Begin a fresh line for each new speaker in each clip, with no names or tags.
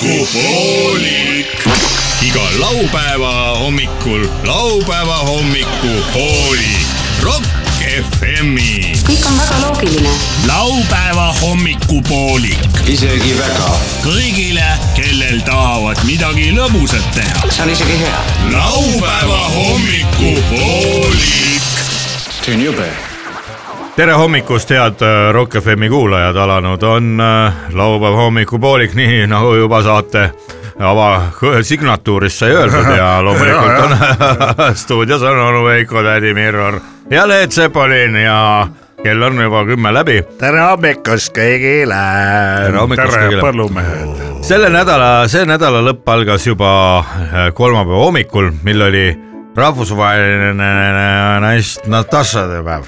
hommikupoolik . iga laupäeva hommikul laupäeva hommikupoolik . Rock FM-i .
kõik on väga loogiline .
laupäeva hommikupoolik
isegi väga .
kõigile , kellel tahavad midagi lõbusat teha .
see on isegi hea .
laupäeva hommikupoolik .
see on jube
tere hommikust , head äh, Rock FM-i kuulajad , alanud on äh, laupäeva hommikupoolik , nii nagu juba saate ava- , signatuuris sai öeldud ja loomulikult on stuudios on onu Veiko , tädi Mirror ja Leet Sepolin ja kell on juba kümme läbi .
tere hommikust kõigile .
Tere hommikust kõigile.
põllumehed .
selle nädala , see nädalalõpp algas juba äh, kolmapäeva hommikul , mil oli rahvusvaheline naist Natasha päev .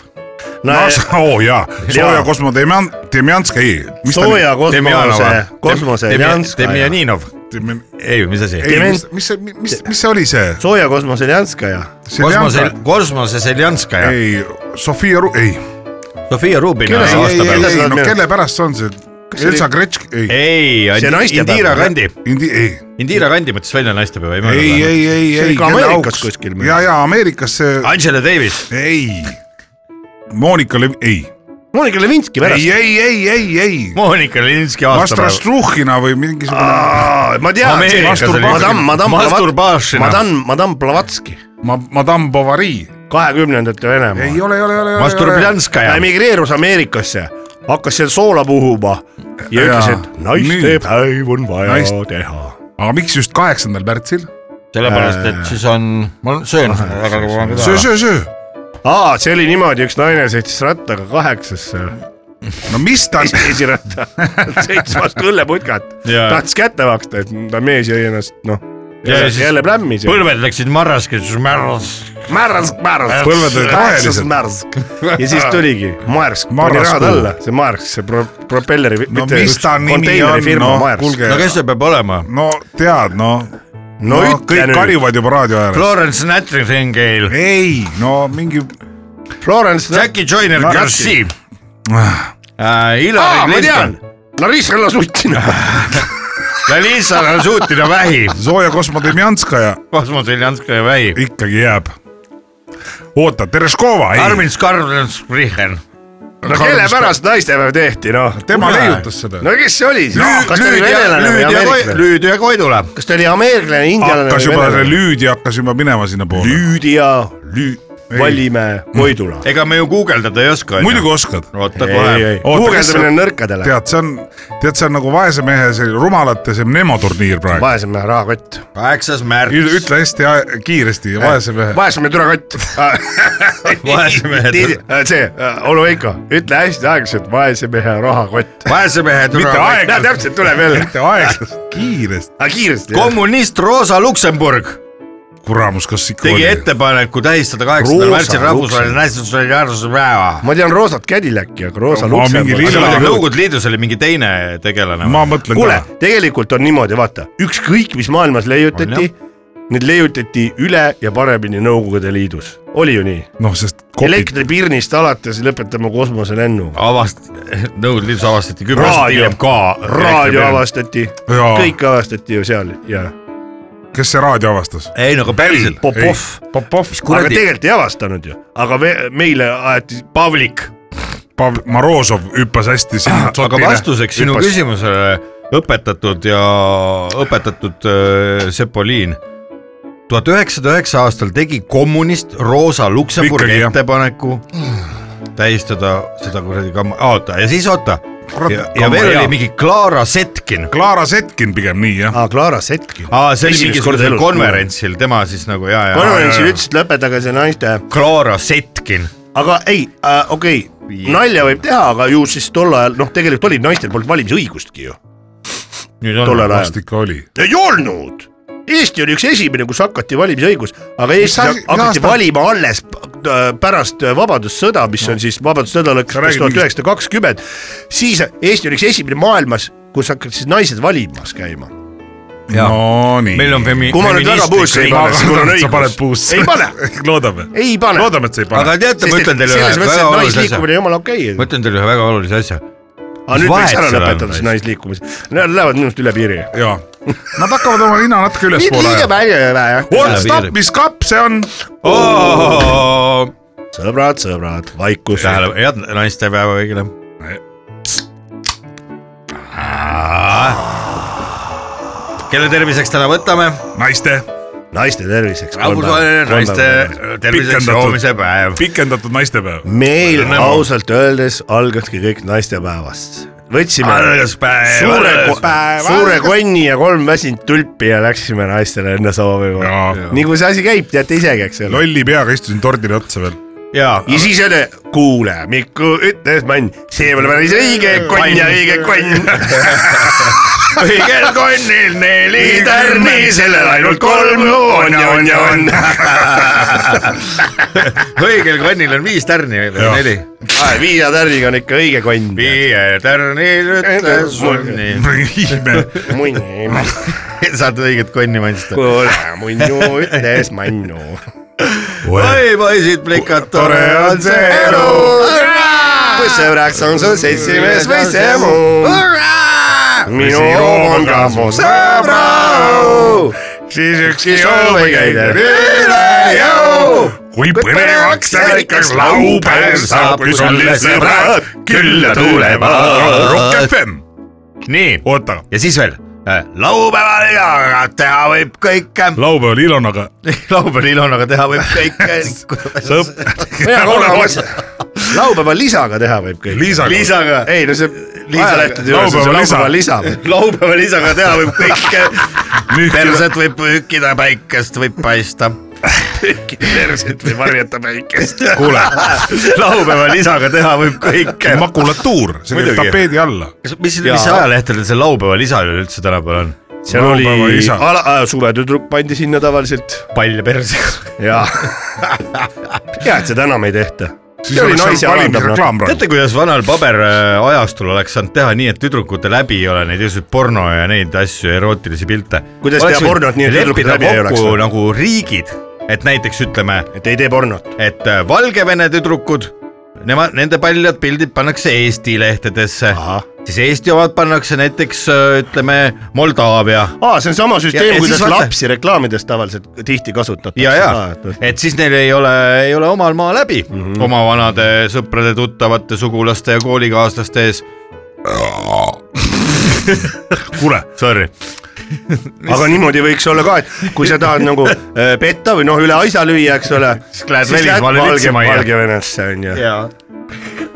Noh,
no
oo jaa ,
Jaa.
sooja Cosmo Demjan- , Demjanski , ei .
sooja kosmose , kosmose Ljanskaja .
Demjanov ,
Dem...
ei , mis asi ?
ei ,
Demjan-
mis , mis , mis , mis see oli see ?
sooja kosmose Ljanskaja .
kosmose , kosmose Seljanskaja ,
ei , Sofia Ru- , ei .
Sofia Rubina
Kelle see-
ei , ei ,
aastapäev .
kelle
ei ,
seda
no
meenutab?
kelle pärast see on see ? Elsa Gretšk , ei .
ei ,
See naistepäev
Indira
on,
Kandi ,
Indi- , ei ,
Indira Kandi mõtles välja naistepäeva , ei
ei , ei ,
mäleta .
ei , ei .
See oli ka Ameerikas kuskil meil.
ja , ja Ameerikas see ,
Angela Davis ,
ei . Monika Lev- , ei .
Monika Levinski pärast
ei ,. ei , ei , ei , ei .
Monika Lelinski
Mastra
aastapäev .
Struhhina või mingisugune ,
ma tean ,
Ameerikas
see
oli-
madam , madam ,
Masturbašina.
madam , madam Blavatski ,
Madame Bovary .
kahekümnendate Venemaa
ei . ole , ei ole , ei ole , ei ole .
ta
Masturbljanskaja ,
emigreerus Ameerikasse , hakkas seal soola puhuma ja
Jaa.
ütles , et
Nüüd.
naistepäev on vaja
Naist-
teha .
aga miks just kaheksandal märtsil ?
sellepärast et siis on , ma söön väga
söö ,
kaua .
söö , söö .
aa , see oli niimoodi , üks naine sõitis rattaga kaheksasse
no mis ta
Esi- esiratta , sõitis vastu õlleputkat ,
Jaa.
tahtis kätte maksta , et ta mees jäi ennast noh ,
Ja
jälle,
siis-
jälle plämmis .
põlved läksid marraskeseks , märras .
märsk , märsk .
Põlved olid rohelised.
märsk . ja siis tuligi Maersk , pani
Marraskuu.
rahad alla , see Maersk , see pro- , propelleri ,
no mis ta nimi on ,
konteinerifirma
no
Maersk .
kuulge
no , kes see peab olema ?
no tead , no .
no ütle
kõik
nüüd ,
karjuvad juba raadio ääres .
Florence Nightingale ,
ei , no mingi ,
Florence ,
Jackie Joyner ,
Ma-
Garcia ,
aa , ma
Hillary
tean
Clinton ,,
Larissa Lasutina .
Liisa Rasutina vähi ,
Zoja Kosmodemjanskaja
Kosmos Seljanskaja vähi .
ikkagi jääb . oota , Tereškova , ei ,
Armin Skarbrens-Richen .
no kelle pärast naistepäev tehti , noh ?
tema leiutas seda .
no kes see oli siis ? kas ta oli venelane või ameeriklane ?
Lüüdia Koidula .
kas ta oli ameeriklane , indialane
hakkas
või
juba ,
venelane ?
lüüdi hakkas juba minema sinnapoole .
Lüüdia Lüü... , Vallimäe , Koidula .
ega me ju guugeldada ei oska .
muidugi oskad .
oota
ei ,
kohe
ei ,.
Oota,
guugeldamine
kas-
on nõrkadele ,
tead , see on , tead , see on nagu vaese mehe see rumalate see mnemoturniir praegu .
vaesem mehe rahakott ,
kaheksas märts ..
ütle hästi ae- kiiresti , vaese mehe .
vaesem mehe türakott
Vaese mehe
türakott . see , onu Veiko , ütle hästi aeglaselt , vaese mehe rahakott .
vaese mehe
mitte
türa .
näe ,
aeglaselt ,
täpselt tuleb jälle ,
mitte aeglaselt , kiiresti .
aga kiiresti .
kommunist Rosa Luksemburg
kuramus , kas ikka
tegi
oli ?
ettepaneku tähistada kaheksandal
Rosa
märtsil rahvusvaheline naissolidaarsus päeva .
ma tean roosat Cadillac'i , aga roosa
Ma mingi
Luksemburgi
lilla- .
Nõukogude Liidus oli mingi teine tegelane .
ma mõtlen
kuule
ka .,
tegelikult on niimoodi , vaata , ükskõik mis maailmas leiutati , need leiutati üle ja paremini Nõukogude Liidus , oli ju nii ?
noh , sest kopid ,
elektripirnist alates lõpetame kosmoselennuga .
avast- , Nõukogude Liidus avastati kümme aastat
Raadio.
hiljem ka .
raadio . avastati ,
Jaa.
kõik avastati ju seal ja .
kes see raadio avastas ?
ei no aga päriselt .
Popov ,
Popov ,
aga
kuradi-
tegelikult ei avastanud ju , aga me, meile aeti
Pavlik .
Pav- , Morozov hüppas hästi sinna
aga
tsotile .
vastuseks sinu
Hüppas.
küsimusele õpetatud ja õpetatud äh, Sepolin tuhat üheksasada üheksa aastal tegi kommunist Rosa Luksemburg
Ikkagi, jah.
ettepaneku tähistada seda kuradi kam- , oota ja siis oota
Kurat,
ja, ja veel
kamma-
oli mingi Clara Setkin .
Klaara Setkin pigem nii jah .
ah, . Klaara Setkin .
Aa, see oli
Esimest korda
mingisugusel
elus
konverentsil , tema siis nagu ja , ja
konverentsil ütles , et lõpetage see naiste ,
Clara Setkin ,
aga ei äh, , okei okay, , nalja võib teha , aga ju siis tol ajal , noh , tegelikult olid naistel polnud valimisõigustki ju ,
nüüd on
tollel ajal .
vast ikka oli .
ei olnud . Eesti oli üks esimene , kus hakati valimisõigus , aga Eestis
sa-
hak- hakati
aasta-
valima alles p- äh, pärast äh, Vabadussõda , mis on siis Vabadussõda lõppes
Sa räägid
tuhat
mingist-
üheksasada kakskümmend , siis Eesti oli üks esimene maailmas , kus hakkasid siis naised valimas käima .
Jaa.
Nonii .
meil on femi- .
kui ma nüüd väga puusse ei pane , siis mul on
sa paned
õigus .
puusse .
Ei pane.
loodame .
ei pane .
loodame , et sa ei
aga
pane .
teate , ma ütlen teile ühe
selles mõttes , et
väga olulise asja ,
naisliikumine on jumala okei
ma
okay. .
ütlen teile ühe väga olulise asja
aga nüüd
vahet
võiks ära
seal on
lõpetada
naisel?
see naisliikumise , nad lähevad minust üle piiri .
jaa , Nad hakkavad oma nina natuke ülespoole
liiga
ajama .
palju ei ole jah .
What's
Üle
up
piiri. ,
mis kapp see on ?
Oh.
sõbrad , sõbrad , vaikus .
tähelepanu , head naistepäeva kõigile . Ah. kelle terviseks täna võtame ?
naiste
naiste terviseks .
rahvusvaheline naiste terviseks
Pikendatud.
joomise päev .
pikendatud naistepäev .
meil
Nõmme.
ausalt öeldes algaski kõik naistepäevast . võtsime
algas päev ,
suure
algas ,
päev
suure
algas.
konni ja kolm väsinud tulpi ja läksime naistele enne soovi .
Jaa.
nii kui see asi käib , teate isegi , eks ole .
lolli peaga istusin tordile otsa veel .
jaa ,
ja siis oli , kuule , Miku ütles , mann , see pole päris õige konn ja õige konn .
kõigil konnil neli tärni ,
liiderni , sellel ainult kolm on ja on ja on .
kõigil konnil on viis tärni või neli ?
viie tärniga on ikka õige konn .
viie tärnil ütles sunni ,
munni ,
saad õiget konni mansta .
kuule , munnu ütles mannu .
oi poisid , plikad , tore on see elu .
kui sõbraks on su seltsimees või see muu , minu on ka mu sõbra .
siis ükski
soov ei käi teil üle jõu .
kui põnevaks värvikas laupäev saab , kui sulle sõbrad külla tulevad . Rock FM ,
nii ,
oota ,
ja siis veel äh, laupäeval Ilonaga teha võib kõike ,
laupäeval Ilonaga .
laupäeval Ilonaga teha võib kõike .
lõpp .
mina kuulen uuesti . laupäeval lisaga teha võib kõik .
Liisaga .
lisaga ,
ei no see
Lisaga.
ajalehtede juures on see
Laupäeval lisa.
laupäeval lisa .
laupäeval lisaga teha võib kõike . perset võib pühkida , päikest võib paista .
perset või varjata päikest .
kuule ,
laupäeval lisaga teha võib kõike .
makulatuur , see käib
Muidugi.
tapeedi alla .
kas , mis , mis
Jaa.
ajalehtedel see laupäeva lisa üleüldse tänapäeval on ?
seal oli
Laupäeva lisa.
ala- , suvetüdruk pandi sinna tavaliselt
pall ja perse .
ja hea , et seda enam ei tehta .
siis oleks seal valimisreklaam praegu .
teate , kuidas vanal paberajastul oleks saanud teha nii , et tüdrukute läbi ei ole neid igasuguseid porno ja neid asju , erootilisi pilte .
Kuidas teha pornot nii, et tüdrukute läbi ei oleks või?
nagu riigid , et näiteks ütleme ,
et ei tee pornot .
et äh, Valgevene tüdrukud , nemad , nende paljud pildid pannakse Eesti lehtedesse , siis Eesti omad pannakse näiteks äh, ütleme Moldaavia
aa , see on sama
Ja- ja
süsteem ,
siis
kuidas
vaata-
lapsi reklaamides tavaliselt tihti kasutatakse . noh.
ja , ja , et siis neil ei ole , ei ole omal maa läbi mm -hmm. oma vanade sõprade , tuttavate , sugulaste ja koolikaaslaste ees .
kuule ,
Sorry ,
aga niimoodi võiks olla ka , et kui sa tahad nagu äh, petta või noh , üle aisa lüüa , eks ole .
Siis lähed välismaale lihtsalt majja.
Valgevenesse on ju .
jaa .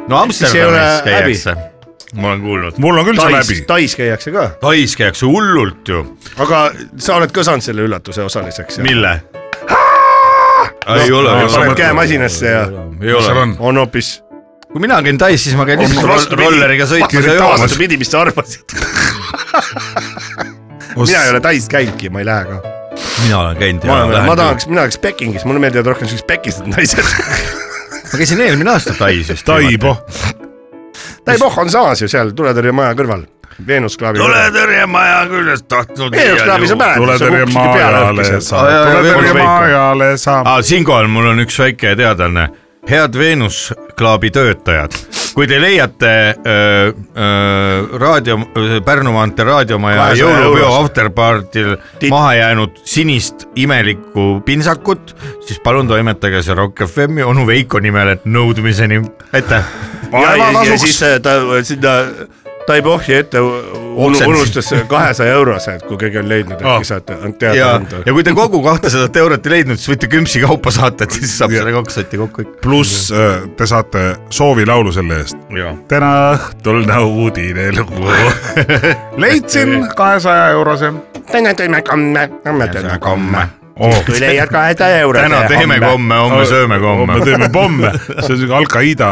no
Siis ei ole
Amsterdamis käiakse , ma olen kuulnud .
mul on küll see
Tais
läbi ,.
Tais käiakse ka ,
Tais käiakse hullult ju ,
aga sa oled ka saanud selle üllatuse osaliseks .
mille ? Noh, ei ole ,
paned käe masinasse ja
ei
mis seal
ole .
on ?
on hoopis
kui mina käin Tais , siis ma käin
Hoopis
lihtsalt
vastupidi.
rolleriga sõitmas ja joomas .
vastupidi , mis sa arvasid . mina ei ole Tais käinudki , ma ei lähe ka .
mina olen käinud
ma olen , ma . tahaks , mina oleks Pekingis , mulle meeldivad rohkem siuksed pekised naised .
ma käisin eelmine aasta Tais just .
Taibo .
Taiboh on samas ju seal tuletõrjemaja kõrval , Veenus klaabi .
tuletõrjemaja küljest tahtnud .
Veenus klaabi sa mäletad ,
tule
sa
terve
kukkisid peale
maajale
õhkis .
sa ,
Aa, jaa,
tule
jaa,
terve
Veiko.
maajale sa .
ah, . siinkohal mul on üks väike teadaanne . head Veenus klaabi töötajad , kui te leiate öö, öö, raadio , Pärnu maantee raadiomaja
200
jõulupeo
euros.
afterpartil
Tipp.
maha jäänud sinist imelikku pintsakut , siis palun toimetage see Rock FM-i onu Veiko nimel , et nõudmiseni , aitäh .
ja , ja, ja
kasuks.
siis äh, ta äh, sinna Taibohi ette un,
Oksendis.
unustas kahesaja eurose , et kui keegi on leidnud ,
Ah.
äkki saate teada
ja ,
anda .
ja kui te kogu kahtesadat eurot ei leidnud , siis võite kümpsi kaupa saata , et siis saab selle kaks sotti kokku ikka .
pluss äh, te saate soovilaulu selle eest . täna õhtul naudin elu . leidsin kahesaja eurose .
täna teeme komme , homme teeme komme . kui leiad kahesaja eurose .
täna teeme . komme , homme sööme
homme
komme .
teeme pomme , see on siuke Al-Qaeda .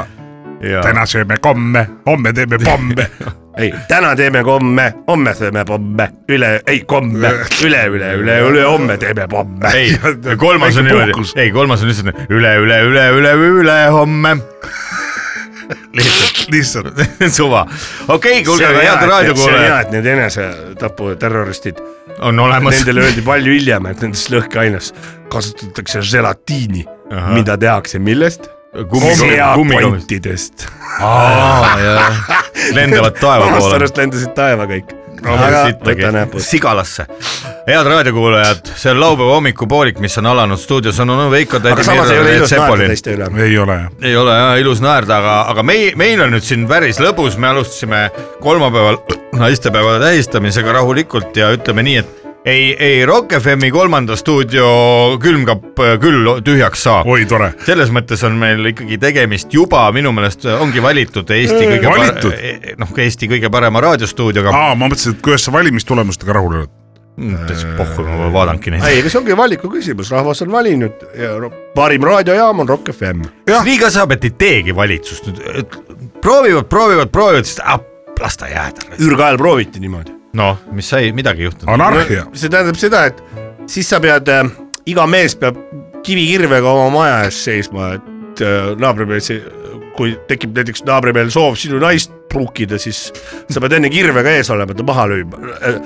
täna sööme komme , homme teeme pomme .
ei , täna teeme komme , homme sööme pomme , üle , ei komme , üle , üle , üle , üle homme teeme pomme .
ei , kolmas on
väike
niimoodi
puhkus. ,
ei kolmas on lihtsalt üle , üle , üle , üle , ülehomme ,
lihtsalt .
suva . okei , kuulge , aga head
see on hea ,
raadiokuulajad
et need enesetaputerroristid ,
on olemas .
nendele öeldi palju hiljem , et nendes lõhkeaines kasutatakse želatiini , mida tehakse millest ?
kummikontidest . lendavad taeva
vanast
poole .
arust lendasid taeva kõik . Aga
sittagi
võta näpud.
sigalasse . head raadiokuulajad , see on laupäeva hommikupoolik , mis on alanud , stuudios on onu Veiko ,
aga
tädi
samas ei
Mirro
ole ilus naerda
ja Reet Sepolin .
teiste üle .
ei ole jah .
ei ole jah ilus naerda , aga , aga meil , meil on nüüd siin päris lõbus , me alustasime kolmapäeval naistepäeva tähistamisega rahulikult ja ütleme nii , et ei , ei Rock FM-i kolmanda stuudio külmkapp äh, küll tühjaks saa .
oi tore .
selles mõttes on meil ikkagi tegemist juba minu meelest äh, ongi valitud Eesti kõige
Valitud? Ah.
pare- , noh , Eesti kõige parema raadiostuudioga .
aa , ma mõtlesin , et kuidas sa valimistulemustega rahul oled .
täitsa pohhu , ma vaadangi neid .
ei , see ongi valiku küsimus , rahvas on valinud ja ro- parim raadiojaam on Rock FM .
kas nii ka saab , et ei teegi valitsust nüüd , proovivad , proovivad , proovivad , siis ah, las ta jääda .
Ürgajal prooviti niimoodi .
noh , mis sai , midagi ei juhtunud .
anarhia .
see tähendab seda , et siis sa pead äh, , iga mees peab kivikirvega oma maja ees seisma , et äh, naabrimees , kui tekib näiteks naabrimehel soov sinu naist pruukida , siis sa pead enne kirvega ees olema , ta maha lööma äh, .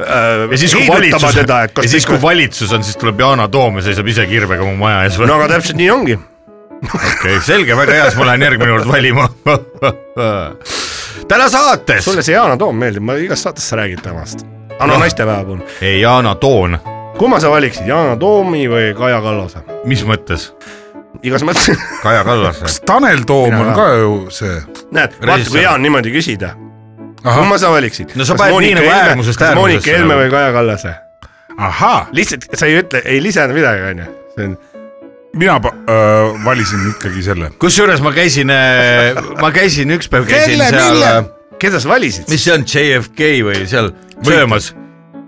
Äh,
ja siis , kui
heidutama
valitsus ,
teda, et kas
ja siis ,
kõik-
kui valitsus on , siis tuleb Yana Toom ja seisab ise kirvega mu maja ees või
no
no. ?
aga täpselt nii ongi .
okei okay, , selge , väga hea , siis ma lähen järgmine kord valima . täna saates .
sulle see Yana Toom meeldib , ma igas saates sa räägid temast . anna
Jah.
no. naistepäeva puhul .
ei , Yana Toon ,
kumma sa valiksid , Yana Toomi või Kaja Kallase ?
mis mõttes ?
igas mõttes ,
Kaja Kallas .
kas Tanel Toom
Mina
on
ka.
ka ju see ?
näed , vaata kui hea on niimoodi küsida .
ahah ,
kumma sa valiksid ?
No sa paned nii nagu äärmusest
Monika
äärmusesse
Helme
nagu.
või Kaja Kallase ?
ahaa ,
lihtsalt sa ei ütle , ei lisanda midagi , onju . see on ,
mina pa- öö, valisin ikkagi selle .
kusjuures ma käisin , ma käisin üks päev käisin
Kelle,
seal äh,
mille?
keda sa valisid ?
mis see on , JFK või seal söömas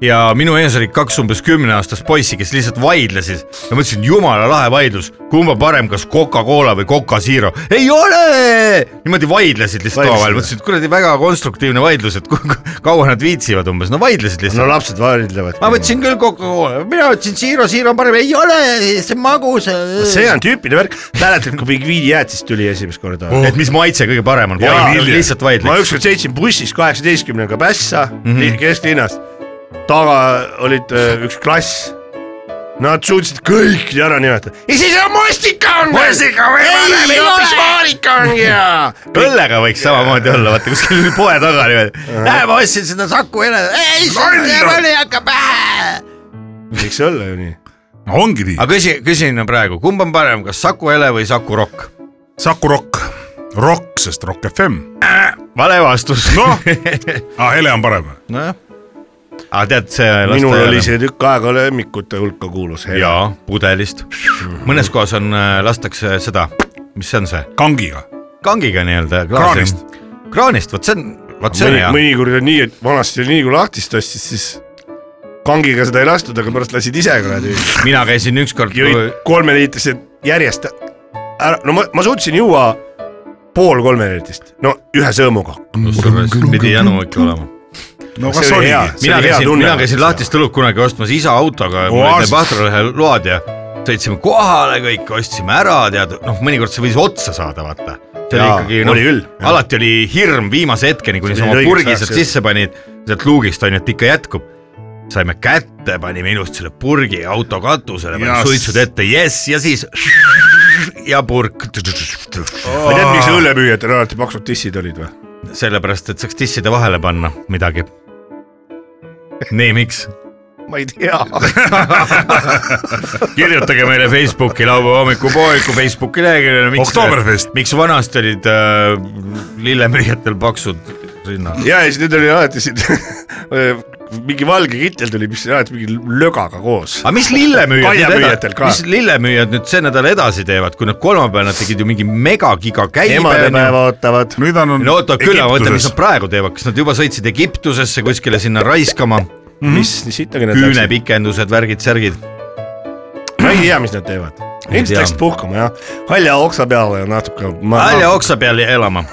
ja minu ees olid kaks umbes kümneaastast poissi , kes lihtsalt vaidlesid ja ma ütlesin , jumala lahe vaidlus , kumb on parem , kas Coca-Cola või Coca Zero . ei ole , niimoodi vaidlesid lihtsalt
Vaidlesid
omavahel ,
või?
mõtlesin , et kuradi väga konstruktiivne vaidlus , et ku- ku- kaua nad viitsivad umbes , no vaidlesid
no
lihtsalt no, .
lapsed vaidlevad .
ma võtsin küll Coca-Cola , mina võtsin Zero , Zero on parem , ei ole , see on magus .
see on tüüpiline värk , mäletad , kui pingviinijäätis tuli esimest korda
et mis maitse kõige parem on ,
Jaa.
lihtsalt
ma
vaidlesid .
ükskord sõitsin bussis kaheksateistkümnega Pässa mm
Mhm.
-hmm. kesklinnast . taga olid äh, üks klass . Nad suutsid kõik ära nimetada . ja siis on mustika on . mustika või ? ei ole , mis maarika on ja .
õllega võiks samamoodi olla , vaata kuskil poe taga niimoodi . näe , ma ostsin seda Saku Hele , ei see on tervele hakka pähe .
võiks olla ju nii .
ongi nii .
aga küsi , küsin praegu , kumb on parem , kas Saku Hele või Saku Rock ?
Saku Rock , Rock , sest Rock FM .
vale vastus .
noh , aa Hele on parem .
nojah . aga Ah, tead , see .
minul oli . see tükk aega lemmikute hulka kuulus .
jaa , pudelist . mõnes kohas on , lastakse seda , mis see on see ,
kangiga .
kangiga nii-öelda .
Kraanist. .
kraanist , vot see on , vot see on
mõni ,
hea .
mõnikord on nii , et vanasti oli nii , kui lahtist ostis , siis kangiga seda ei lastud , aga pärast lasid ise kuradi .
mina käisin ükskord .
jõid kolmeliitrised järjest ära , no ma , ma suutsin juua pool kolmeliitrist , no ühe sõõmuga .
kusjuures pidi janu ikka olema .
no
See
kas
oli
oli
hea.
nii ?
See
mina
oli hea
käisin ,
tunne.
mina käisin lahtist õlut kunagi ostmas isa autoga , mul olid
Oaasist.
Patralehe load ja sõitsime kohale kõik , ostsime ära , tead , noh , mõnikord see võis otsa saada , vaata . see oli
Jaa,
ikkagi ,
oli küll, jah.
noh , alati oli hirm viimase hetkeni , kuni
See
sa
oli
oma
õigeks
purgi
ajaks,
sealt
jah.
sisse panid , sealt luugist on ju , et ikka jätkub saime kätte , panime ilusti selle purgi auto katusele ,
Jas.
panime suitsud ette , jess , ja siis ja purk .
ma ei tea , miks õllemüüjatel alati paksud tissid olid või ?
sellepärast , et saaks tisside vahele panna midagi . nii , miks ?
ma ei tea .
kirjutage meile Facebooki laupäeva hommikupooliku Facebooki leheküljele .
Oktoberfest.
miks vanasti olid äh, lillemüüjatel paksud rinnad ?
ja , ja siis nüüd oli alati siin mingi valge kittel tuli , mis oli alati mingi lögaga koos .
aga mis lillemüüjad nüüd
Aiamüüjatel ka.
mis lillemüüjad nüüd see nädal edasi teevad , kui nad kolmapäeval nad tegid ju mingi megagiga käibe .
emadepäeva ootavad .
nüüd on .
no oota küll , ma mõtlen , mis nad praegu teevad , kas nad juba sõitsid Egiptusesse kuskile sinna raiskama ,
mis , mis ikkagi nad läksid ?
küünepikendused , värgid-särgid .
ma ei tea , mis nad teevad . ilmselt
tea.
läksid puhkama jah , halja oksa peale ja natuke .
halja oksa peal elama .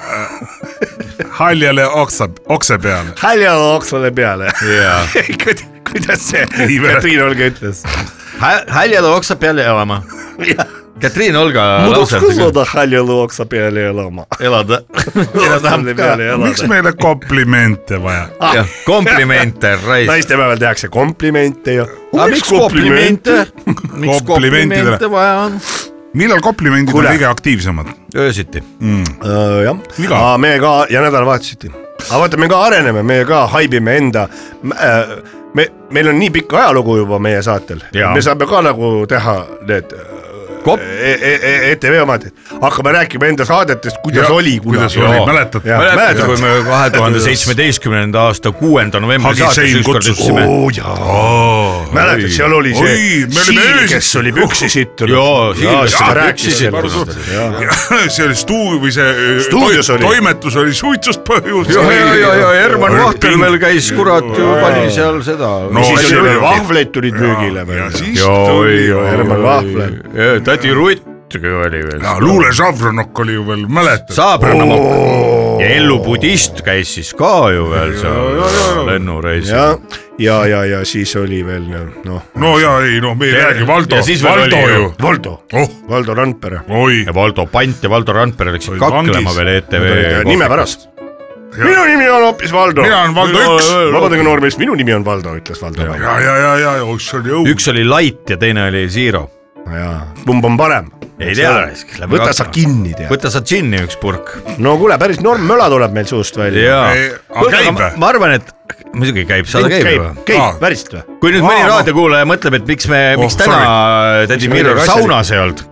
haljale oksa , okse peale .
halja oksale peale .
jaa .
kuidas see
Ei, vä-
Katriin Olge ütles ?
haljale oksa peal elama . Katriin Olga .
ma tahaks küll saada halja oksa peale elama .
elada
Oksa peale
miks
elada .
meile komplimente vaja ?
jah , komplimente , raisk .
naistepäeval tehakse komplimente ja .
aga miks komplimente ? miks
Komplimentidele.
komplimente vaja on ?
millal komplimendid on
Kuule.
kõige aktiivsemad ?
öösiti .
Äh, jah ,
Iga.
aga me ka ja nädalavahetuseti . aga vaata , me ka areneme , meie ka haibime enda , me , meil on nii pikk ajalugu juba meie saatel ,
Jaa.
me saame ka nagu teha need äh,
Kop-
E- E- E- ETV omad , et hakkame rääkima enda saadetest , kuidas
Ja,
oli
kuidas
kunagi
oli. .
Jaa.
mäletad?
Jaa,
mäletad ,
mäletad?
kui me kahe tuhande seitsmeteistkümnenda aasta kuuenda novembri
Hagi
saates
Sein
ükskord
kutsus .
ütlesime .
mäletad , seal oli
Oi,
see
me olime
Siil ,
öösel-
kes oli püksi sittunud .
Jaa, Siil, kes oli püksi sittunud.
sittunud .
see oli stuu- või see öö,
Stuudios
toi-
oli.
toimetus oli suitsust põhjus .
ja , ja , ja , ja Herman
Oli
Vahtel
ping.
veel käis , kurat , ju pani seal seda .
No
siis
asi
oli
oli- ,
vahvleid tulid müügile
ja
veel .
siis
oi ,
tuli
oi ,
Herman Vahler. .
tädi Rutt oli veel .
ja luule Žavronok oli ju veel , mäletad ?
Saabranamokk ja Ellu budist käis siis ka ju veel seal lennureisil .
ja , ja , ja , ja siis oli veel noh ,
no ja ei noh , me ei räägi , Valdo
ja siis , veel
Valdo
oli ju.
ju .
Valdo ,
oh ,
Valdo Randpere .
oi ,
ja Valdo Pant ja Valdo Randpere läksid
Olid
kaklema
vangis.
veel E ETV .
nime pärast . minu nimi on hoopis Valdo .
Mina olen Valdo üks.
vabandage noormees , minu nimi on Valdo , ütles Valdo .
ja , ja , ja , ja , oh see oli õudne .
üks oli Lait ja teine oli Zero .
kumb on parem ?
ei tea ,
võta sa . kinni , tead .
võta sa džinni üks purk .
no kuule , päris norm möla tuleb meil suust välja .
jaa
Ei, . aga käib või?
ma arvan , et muidugi käib , sada käib
käib
juba .,
Aa.
käib , päriselt või ?
kui nüüd mõni
Aa, no.
raadiokuulaja mõtleb , miks me , miks
Oh,
täna tädi
Miks me
Mirror
midagi asja
saunas ei olnud ,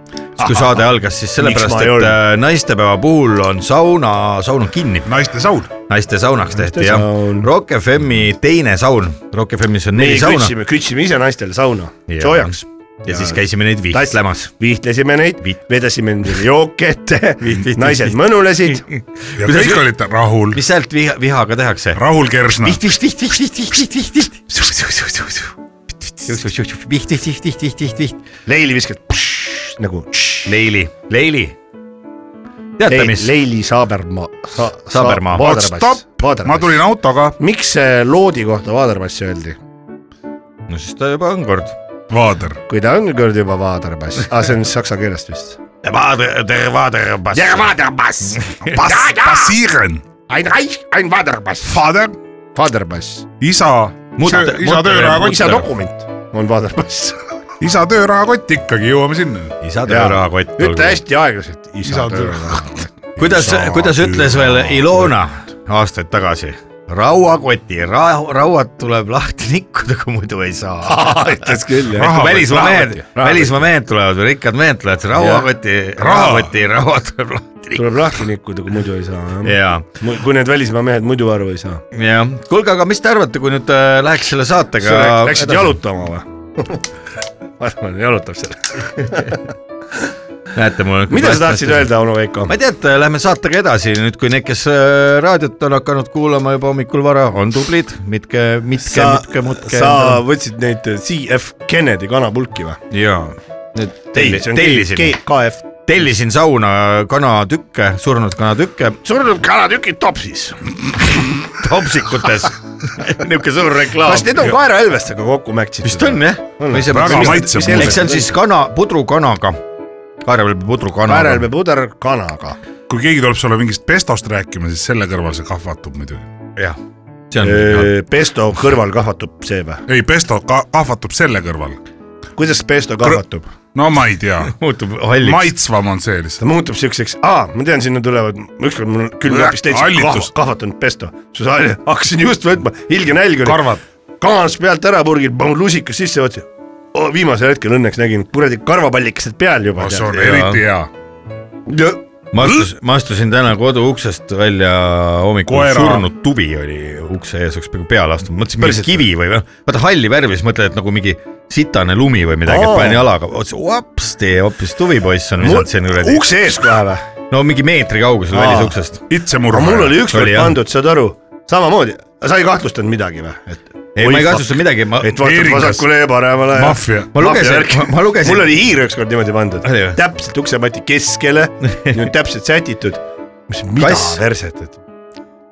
kui saade algas , siis sellepärast ,
ma ei
et
olnud?
äh, naistepäeva puhul on sauna , saun on kinni ,
naiste saun .
naiste saunaks tehti jah
saun. .
Rock FM-i teine saun , Rock FM-is on
meie
neli sauna
kütsime , kütsime ise naistele sauna ,
Jaa.
soojaks .
ja siis käisime neid vihtlemas .
vihtlesime neid
Viht- ,
vedasime endale jooke ette
Viht- viht- ,
naised
viht-
mõnulesid .
ja
Kuidas-
kõik olid rahul ,
mis sealt viha , vihaga tehakse ?
rahul Kersna .
viht , viht , viht , viht , viht , viht , viht , viht . viht , viht , viht , viht , viht , viht , viht .
leili viskad nagu .
Leili , Leili . teate ,
Leili,
mis ?
leili Saabermaa sa, .
Saabermaa.
Oot , stopp , ma tulin autoga .
miks see loodi kohta Vaadermass öeldi ,
no siis ta juba on kord .
vaader ,
kui ta on kord juba Vaadermass , aa see on saksa keelest vist .
Vaade , tere , vaade , pass .
Vaadermass ,
Bas- , Basiren ,
ein Reich , ein Vaadermass .
fader ,
Vaadermass ,
isa ,
Mutter-
isa
mutter-
töörahakott ,
isa dokument on Vaadermass .
isa töörahakott ikkagi , jõuame sinna .
isa töörahakott .
ütle . hästi aeglaselt , isa
Isa
töörahakott .
kuidas
Isa ,
kuidas ütles veel
töörahakott.
Ilona aastaid tagasi ? rauakoti ra- , rauad tuleb lahti nikkuda , kui muidu ei saa .
ütles küll jah .
Raha-
välismaa
rahakott,
mehed , välismaa mehed tulevad , rikkad mehed tulevad , rauakoti ,
Raha.
rahakoti rauad tuleb lahti nikkuda .
tuleb lahti nikkuda , kui muidu ei saa jah .
jaa ,
kui need välismaa mehed muidu aru ei saa .
jah . kuulge , aga mis te arvate , kui nüüd äh, läheks selle saatega
Läksid
edasi?
jalutama või ? ma arvan , jalutab seal .
näete , mul on .
mida sa tahtsid ? öelda , onu Veiko
ma ? ei tea , et lähme saatega edasi nüüd , kui need , kes äh, raadiot on hakanud kuulama juba hommikul vara , on tublid , mitke , mitke ,
sa
mitke , mutke .,
sa võtsid neid CF Kennedy kanapulki või ?
jaa . nüüd telli- tellisin ,
KF .
tellisin sauna kanatükke , surnud kanatükke
surnud kanatükid topsis .
topsikutes . niisugune suur reklaam .
kas need on ? Kaera Elvestega kokku mätsitud ?
vist on jah .
Väga maitsev muidugi.
eks see on siis kana , pudrukanaga . kaeravelbe pudrukanaga .
kaeralbe puder kanaga .
kui keegi tuleb sulle mingist pestost rääkima , siis selle kõrval see kahvatub muidugi .
jah , see on .
Äh, Pesto kõrval kahvatub see või ?
ei , pesto ka kahvatub selle kõrval .
kuidas pesto kahvatub ?
no ma ei tea ,
muutub halliks .
maitsvam on see lihtsalt .
ta muutub siukseks , aa , ma tean , sinna tulevad , ükskord mul külmkapis täitsa
Hallitus.
kahv- kahvatanud pesto , siis hal- hakkasin just võtma , ilge nälg oli ,
karvad ,
kaanas pealt ära purgil , panin lusikas sisse , vaatasin oh, , viimasel hetkel õnneks nägin , kuradi karvapallikesed peal juba .
see on eriti hea .
ma astusin , ma astusin täna kodu uksest välja hommikul ,
Koera-
surnud tubi oli ukse ees , oleks peaaegu peale astunud , mõtlesin mingi
Päriselt
kivi või noh , vaata halli värvi , siis mõtled , et nagu mingi sitane lumi või midagi , et
Aa.
panen jalaga , otsin vapsti , hoopis tuvipoiss on visanud siin kuradi ,
ukse ees kohe või ?
no mingi meetri kaugusel
Aa.
välisuksest .
itsemurra .
mul oli ükskord
Oli, jah.
pandud , saad aru , samamoodi , sa ei kahtlustanud midagi või , et
ei , ma ei kahtlustanud midagi , ma ,
et vaatab
Eeringas.
vasakule ja paremale .
Maffia.
Ma lugesin- ma- ma lugesin-
mul oli hiir ükskord niimoodi pandud
Oli või? ,
täpselt uksemati keskele , täpselt sätitud . mis , mida
Kass.
verset , et .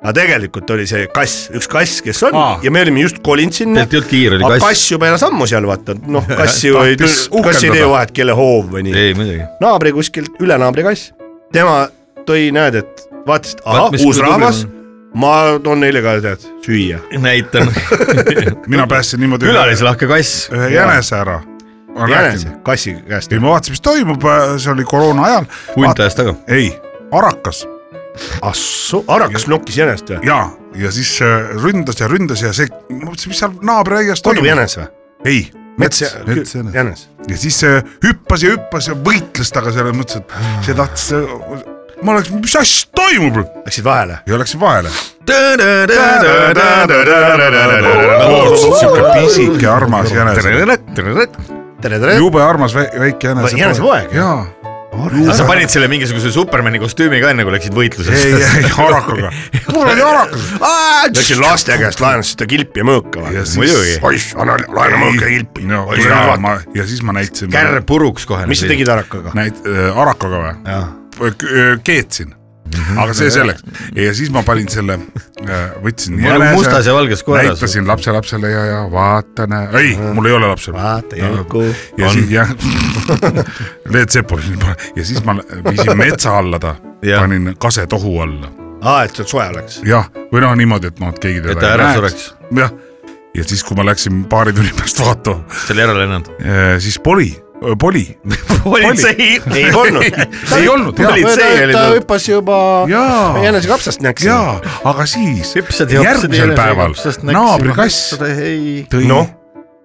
aga tegelikult oli see kass , üks kass , kes on
Aa.
Aa. ja me olime just kolinud sinna
tegelikult . ei olnud kiire ,
aga
oli
kass,
kass .
kass juba elas ammu seal , vaata , noh , kass ju ei ,
Tahtis
kass ei
uhkeldada.
tee vahet , kelle hoov või nii .
ei muidugi .
naabri kuskilt , ülenaabri kass , tema tõi , näed , et vaatas , et ahah
Vaat, , mis
uus
tubli
rahvas
on. ,
ma toon neile ka , tead , süüa .
näitan .
mina päästsin niimoodi ühe,
külalislahke kass .
ühe jänese ära .
jänese , kassi käest
äh, ei , ma vaatasin , mis toimub , see oli koroona ajal .
hunt ajas taga .
ei , Arakas
ahsoo , Araks nokkis jänest või ?
ja , ja siis äh, ründas ja ründas ja see , ma mõtlesin , mis seal naabriaias toimub .
kodujänes või ?
ei , mets , mets jänes .
jänes .
ja siis see hüppas ja hüppas ja võitles taga selles mõttes , et see tahtis , ma oleks , mis asja toimub
Läksid vahele ?
ja läksin vahele . siuke
tere ,
pisike armas jänes ,
tere .
jube armas Eh. vä- väike jänes .
jänesepoeg, jah?
jaa ,
sa panid selle mingisuguse Supermani kostüümi ka enne , kui läksid
ei ,
võitlusesse .
ei harakaga , mul oli harakas
Läksid laste käest , laenasid seda kilpi ja mõõka või ?
ja
Muidugi.
siis .
oih , anna laena mõõka kilpi
no ja . ma ja siis ma näitasin .
kärr puruks kohe .
mis sa ? tegid Arakaga ?
näit- , harakaga või ? keetsin , aga see selleks . ja siis ma panin selle , võtsin .
ma olen mustas ja valges koeras .
näitasin lapselapsele ja , ja vaata , näe , ei , mul ei ole lapsel .
vaata Jelku .
ja siis jah , Leet Sepolini pa- ja siis ma lä- viisin metsa alla ta ,
Jah.
panin kasetohu alla ,
aa , et seal soe oleks .
jah , või noh , niimoodi , et noh , et keegi
Et
teda
ta ära
jah , ja siis , kui ma läksin paari tunni pärast vaatama ,
selle ära lennanud .
siis poli , poli ,
politsei .
ei olnud .
ei olnud jah ,
politsei oli
ta
tal .
hüppas juba
Jaa.
jänesekapsast näksis .
jaa , aga siis
hüpsad ja hüpsad .
järgmisel päeval naabrikass
ei .
tõi
Noh.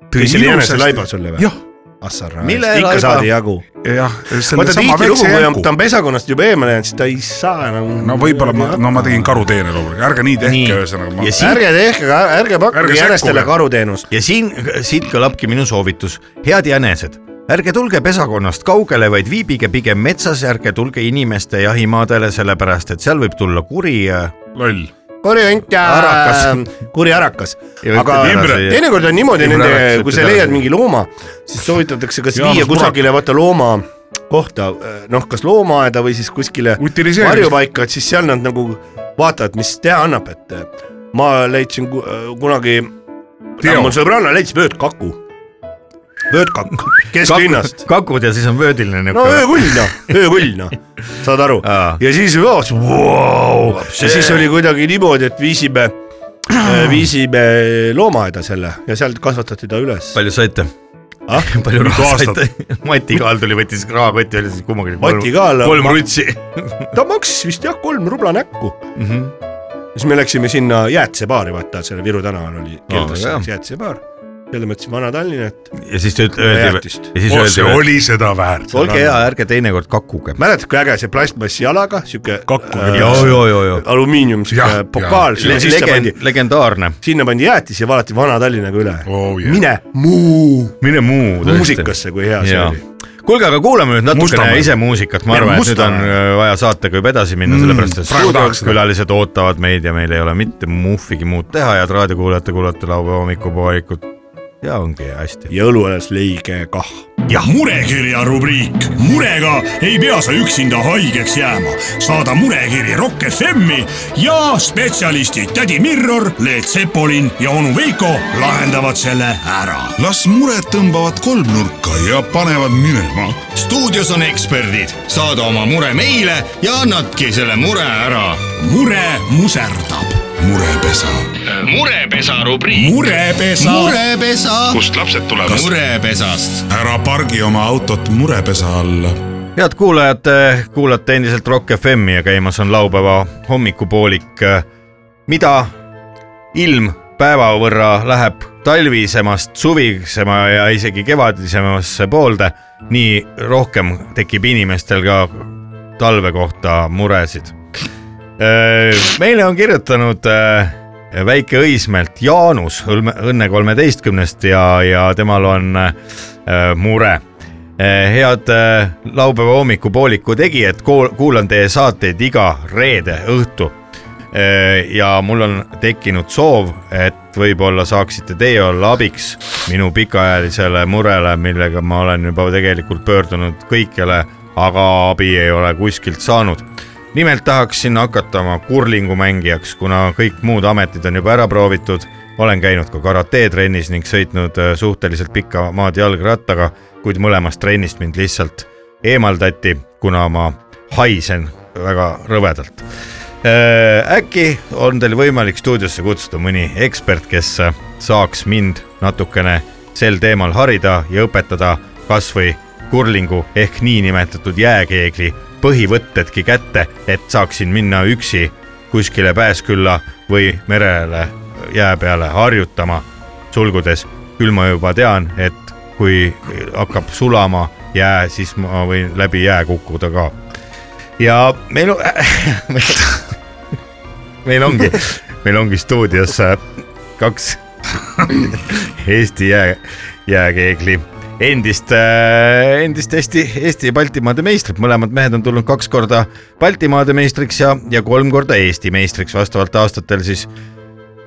tõi
mis selle
ilusasti-
jäneselaiba sulle või ?
jah ,
Assarra ,
Mille
ikka
laiba?
saadi jagu .
jah , selle
vaata
sama
tihti lugu ,
väikse
kui on-
jälgu
ta on pesakonnast juba eemale jäänud , siis ta ei saa enam .
no võib-olla ma , no ma tegin karuteene loomulikult , ärge nii tehke , ühesõnaga ma
ja siis
ärge tehke , ärge pakkuge
Ärge
jänestele
sekkuge.
karuteenust .
ja siin , siit kõlabki minu soovitus , head jänesed , ärge tulge pesakonnast kaugele , vaid viibige pigem metsas ja ärge tulge inimeste jahimaadele , sellepärast et seal võib tulla kuri ja
loll .
kuri hunt
Arakas.
ja ähm, kuri arakas .
Ja
aga
ütled
Imre-
Imre- teinekord on niimoodi
Imre
nende
Arakas ,
kui
ütled
sa
ära.
leiad mingi looma , siis soovitatakse kas
Jaanus
viia
Murat.
kusagile vaata looma kohta , noh , kas loomaaeda või siis kuskile
Utiliseerimist.
varjupaika , et siis seal nad nagu vaatavad , mis teha annab , et äh, ma leidsin ku- äh, kunagi ,
Teo.
mul sõbranna leidis vöötkaku , vöötkakk kesklinnast .
kakud ja siis on vöödiline
no
niisugune no, .
öökull noh , öökull noh , saad aru
Aa.
ja siis vaatas , vau , ja siis oli kuidagi niimoodi , et viisime , viisime loomaaeda selle ja seal kasvatati ta üles .
palju saite
Ah? ?
palju raha
aastat?
saite ? Mati Kaal tuli , võttis rahakotti , oli siis kummagi .
Mati Kaal-
kolm rutsi .
ta maksis vist jah , kolm rubla näkku mm .
Mhm.
-hmm. siis me läksime sinna jäätisebaari , vaata selle Viru tänaval oli Keldas
jaa.
oh, jäätisebaar , selles mõttes Vana-Tallinn , et
ja siis te üt- öeldi ,
Väetist.
ja siis
oh , see
öeldi ,
oli seda väärt .
olge hea , ärge teinekord kakuge .
mäletad , kui äge see plastmassjalaga sihuke
Kakku
äh,
küll,
joo , joo , joo , joo .
alumiinium
Jah,
sihuke
jah.
pokaal , sinna sisse pandi ,
legend , legendaarne .
sinna pandi jäätis ja valati Vana-Tallinnaga üle
Oh, yeah.
mine muu
mine muu .
muusikasse , kui hea see
Jaa.
oli .
kuulge , aga kuulame nüüd natukene
Mustamäe.
ise muusikat , ma
Ja
arvan , et nüüd on
Mustamäe.
öö, vaja saatega juba edasi minna mm, , sellepärast et
praegu tahaks seda.
stuudiokülalised ootavad meid ja meil ei ole mitte muhvigi muud teha , head raadiokuulajate , kuulajate laupäeva hommikupoolikut ja ongi hästi .
ja õlu alles leige kah .
murekirja rubriik . murega ei pea sa üksinda haigeks jääma . saada murekiri Rock FM-i ja spetsialistid tädi Mirror , Leet Sepolin ja onu Veiko lahendavad selle ära
las mured tõmbavad kolmnurka ja panevad minema . stuudios on eksperdid , saada oma mure meile ja annadki selle mure ära .
mure muserdab .
murepesa .
murepesa rubriik .
murepesa mure. .
murepesa ,
kust lapsed tulevad ?
murepesast . ära pargi oma autot murepesa alla .
head kuulajad , kuulate endiselt Rock FM-i ja käimas on laupäeva hommikupoolik , mida ilm päeva võrra läheb talvisemast suvisema ja isegi kevadisemasse poolde , nii rohkem tekib inimestel ka talve kohta muresid . Äh, meile on kirjutanud äh, väike Õismäelt Jaanus Õlme- Õnne kolmeteistkümnest ja , ja temal on äh, mure . head äh, laupäeva hommikupooliku tegijad , kuulan teie saateid iga reede õhtu Eh, ja mul on tekkinud soov , et võib-olla saaksite teie olla abiks minu pikaajalisele murele , millega ma olen juba tegelikult pöördunud kõikjale , aga abi ei ole kuskilt saanud . nimelt tahaksin hakata oma kurlingumängijaks , kuna kõik muud ametid on juba ära proovitud , olen käinud ka karatetrennis ning sõitnud äh, suhteliselt pikka maad jalgrattaga , kuid mõlemast trennist mind lihtsalt eemaldati , kuna ma haisen väga rõvedalt Äh, äkki on teil võimalik stuudiosse kutsuda mõni ekspert , kes saaks mind natukene sel teemal harida ja õpetada kasvõi kurlingu ehk niinimetatud jääkeegli põhivõttedki kätte , et saaksin minna üksi kuskile pääskülla või merele jää peale harjutama . sulgudes , küll ma juba tean , et kui hakkab sulama jää , siis ma võin läbi jää kukkuda ka . ja meil , meil ongi , meil ongi stuudios äh, kaks Eesti jää , jääkeegli endist , endist Eesti , Eesti ja Baltimaade meistrit , mõlemad mehed on tulnud kaks korda Baltimaade meistriks ja , ja kolm korda Eesti meistriks vastavalt aastatel siis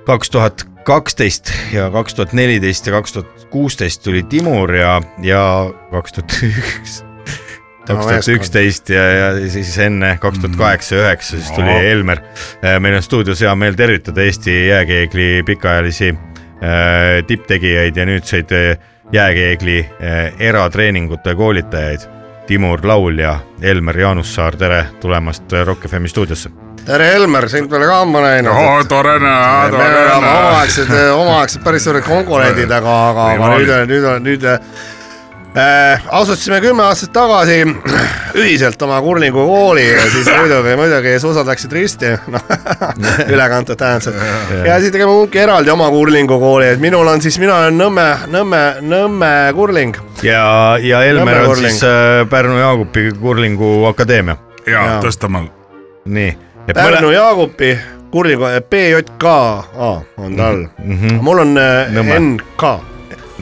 kaks tuhat kaksteist ja kaks tuhat neliteist ja kaks tuhat kuusteist tuli Timur ja , ja kaks tuhat üks , kaks tuhat üksteist ja , ja siis enne kaks tuhat kaheksa ja üheksa siis tuli Helmer . meil on stuudios hea meel tervitada Eesti jääkeegli pikaajalisi äh, tipptegijaid ja nüüdseid äh, jääkeegli äh, eratreeningute koolitajaid . Timur Laul ja Elmer Jaanussaar , tere tulemast äh, Rock FM stuudiosse .
tere , Helmer , sind pole ka ammu näinud .
tore näha ,
me
tore
oleme
näha .
omaaegsed , omaaegsed päris suured konkurendid , aga , aga , aga
Niimoodi.
nüüd , nüüd , nüüd äh, asustasime kümme aastat tagasi ühiselt oma kurlingu kooli ja siis muidugi , muidugi suusad läksid risti , noh ülekantud tähendab . ja siis tegime kumbki eraldi oma kurlingu kooli , et minul on siis , mina olen Nõmme , Nõmme , Nõmme kurling
ja , ja Elmer
Nõmme
on
kurling.
siis äh, Pärnu Jaagupi kurlingu akadeemia ,
ja
jaa.
Tõstamaal .
nii .
Pärnu Jaagupi eh, kurlingu , PJKA on tal , mul on
Nõmme.
äh, NK ,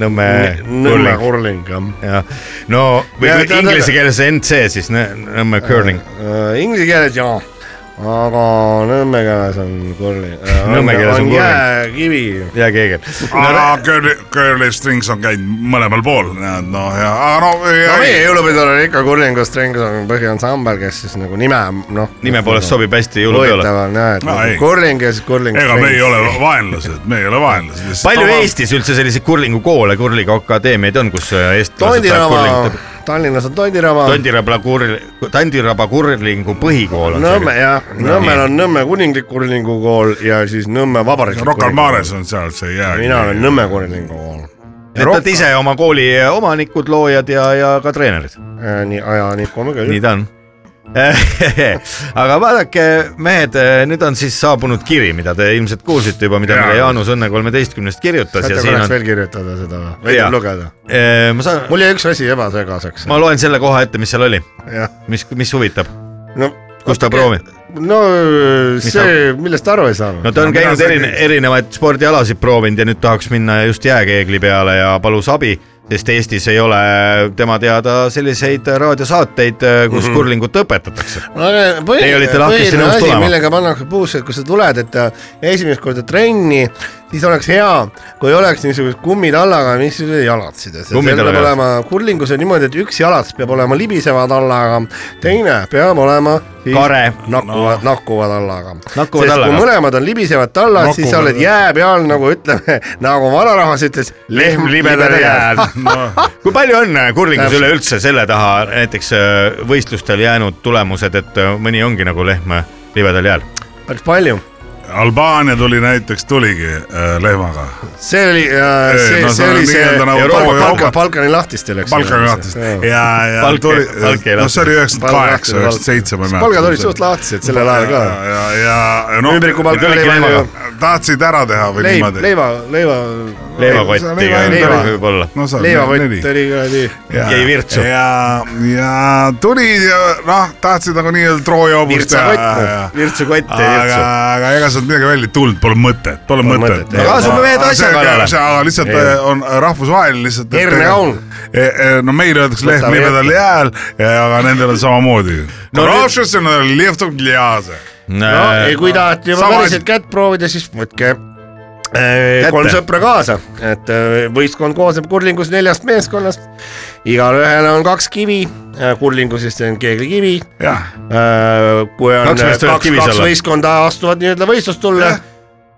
Nõmme
Äh, Nõmme
kurling ,
kurling jah
jah . no või
Ja
kui
ta- ta-
inglise keeles NC siis Nõ- Nõmme curling ,
Äh, Inglise keeles jaa , aga nõmme keeles on curling .
Nõmme keeles on curling.
jääkivi .
jääkeegel .
aga curly , Ah, curly strings on käinud mõlemal pool , noh ja , no,
no
ja
meie jõulupidul on ikka curlingust ringi on põhiansambel , kes siis nagu nime , noh .
nime poolest sobib hästi jõulupeole .
huvitav on jah , et
No
nagu
ei.
curling ja siis curling .
ega me ei ole vaenlased , me ei ole vaenlased .
palju Eestis üldse selliseid kurlingukoole , kurliga akadeemiaid on , kus äh, eestlased saavad
Tondiraba
kurlingut ,
Tallinnas on Tondiraba .
Tondiraba kurl- , Tondiraba kurlingu põhikool on
Nõmme
see .
jah , Nõmmel on Nõmme kuninglik kurlingu kool ja siis Nõmme vabariiklik .
Rocca al Mares on seal see jää .
mina olen Nõmme kurlingu kool .
et nad ise oma kooli omanikud , loojad ja , ja ka treenerid .
Äh, nii , ja nii kolme küll .
nii ta on . aga vaadake , mehed , nüüd on siis saabunud kiri , mida te ilmselt kuulsite juba , mida
Jaa.
meile Jaanus Õnne kolmeteistkümnest kirjutas ja
saate
siin
korraks
on ,
veel kirjutada seda või ? või
Jaa.
tuleb lugeda ?
ma saan ,
mul jäi üks asi ebasegaseks .
ma loen selle koha ette , mis seal oli ,
jah ,
mis , mis huvitab ,
no .
kus ta proovib .
no see , millest aru ei saanud
no ta on käinud erine, erinevaid spordialasid proovinud ja nüüd tahaks minna just jääkeegli peale ja palus abi , sest Eestis ei ole tema teada selliseid raadiosaateid , kus mm
Mhm.
-hmm. kurlingut õpetatakse .
no, .
Teie olite lahkesti nõus tulema.
millega pannakse puusse , et kui sa tuled , et äh, esimest korda trenni , siis oleks hea , kui oleks niisugused kummitallaga , mis jalatsid .
Kummid
seal peab
tallaga.
olema , kurlingus on niimoodi , et üks jalats peab olema libiseva tallaga , teine peab olema siis
Kare.
nakkuva no. , nakkuva tallaga .
Nakkuva
sest
tallaga.
kui mõlemad on libisevad tallad , siis sa oled jää peal nagu ütleme , nagu vanarahvas ütles , lehm libedal jääl .
kui palju on äh, kurlingus
Täpselt.
üleüldse selle taha näiteks äh, võistlustel jäänud tulemused , et äh, mõni ongi nagu lehm äh, libedal jääl ?
päris palju
Albaania tuli näiteks , tuligi äh, lehmaga .
see oli , see
no , see
see
on
oli see
nii-öelda nagu
Euroopa
Euroopa-
Balka , Balkani lahtistel , eks .
Balkani lahtist ja , ja
Balke-
tuli
Balke ,
no see oli üheksakümmend kaheksa ,
Balkani
üheksakümmend seitse ma ei mäleta .
palgad olid suht lahtised sellel ajal ka .
ja , ja , ja no
ümbrikupalk
tulidki
oli palju
leivaga.
tahtsid ära teha või
leib ,
niimoodi ?
leiva , leiva ,
leivakotti
Leiva-
ka
leiva-
võib-olla .
no seal
leivakott oli ka nii .
jäi virtsu .
ja , ja tulid ja noh , tahtsid nagu nii-öelda Trooja hobust teha .
virtsakott , virtsakott ja
aga ,
virtsu .
aga ega sealt midagi välja ei tulnud , pole mõtet , pole mõtet .
mõtet, jah.
Asume mehed asja kallale.
aga lihtsalt ei. on rahvusvaheline lihtsalt .
Herne kaun. .
eh, no meil öeldakse lehm
Võtame
libedal jääl , aga nendel on samamoodi .
No
no
nüüd-
Rootsis on eh, lihvtum lihase .
no ei , kui tahate juba
Sama
päriselt
asi.
kätt proovida , siis võtke eh, kolm sõpra kaasa , et eh, võistkond koosneb kurlingus neljast meeskonnast . igalühel on kaks kivi , kurlingus siis on keeglikivi
jah ,
Äh, kui on
Kaks
kaks,
meest võivad
kaks,
kivis
kaks
olla.
võistkonda astuvad nii-öelda võistlustulle ,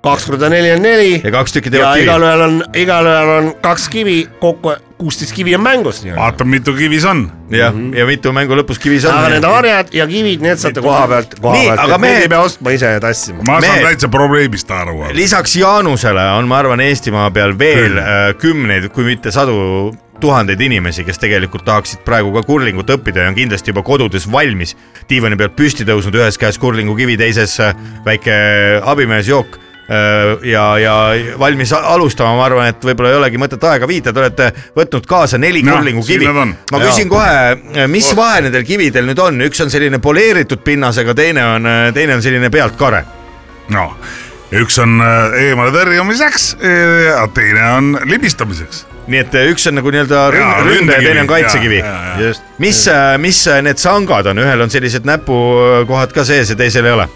kaks korda neli on neli
ja kaks tükki
ja
teevad kivi .
igalühel on , igalühel on kaks kivi , kokku kuusteist kivi on mängus nii-öelda .
vaata mitu kivis on .
jah , ja mitu mängu lõpus kivis on .
Mhm. aga need harjad ja kivid , need saate koha pealt , koha
Nii,
pealt ,
aga
et me...
mehed-
ei pea ostma ise ja tassima .
ma saan
Mehed.
täitsa probleemist aru .
lisaks Jaanusele on , ma arvan , Eestimaa peal veel äh, kümneid , kui mitte sadu tuhandeid inimesi , kes tegelikult tahaksid praegu ka kurlingut õppida ja on kindlasti juba kodudes valmis diivani pealt püsti tõusnud , ühes käes kurlingukivi , teises äh, väike abimeesjook äh, ja , ja valmis a- alustama , ma arvan , et võib-olla ei olegi mõtet aega viita , te olete võtnud kaasa neli
Jah,
kurlingukivi
Noh, siin nad
ma
on. . Jaa. Oh.
küsin kohe , mis vahe nendel kividel nüüd on , üks on selline poleeritud pinnasega , teine on , teine on selline pealtkare .
no noh, üks on äh, eemale tõrjumiseks eh, ja teine on libistamiseks .
nii et äh, üks on nagu nii-öelda
Jaa,
ründe, ründe ja
ründekivi.
teine on kaitsekivi
Jaa, jaa, .
mis , mis äh, need sangad on , ühel on sellised näpukohad ka sees ja teisel ei ole .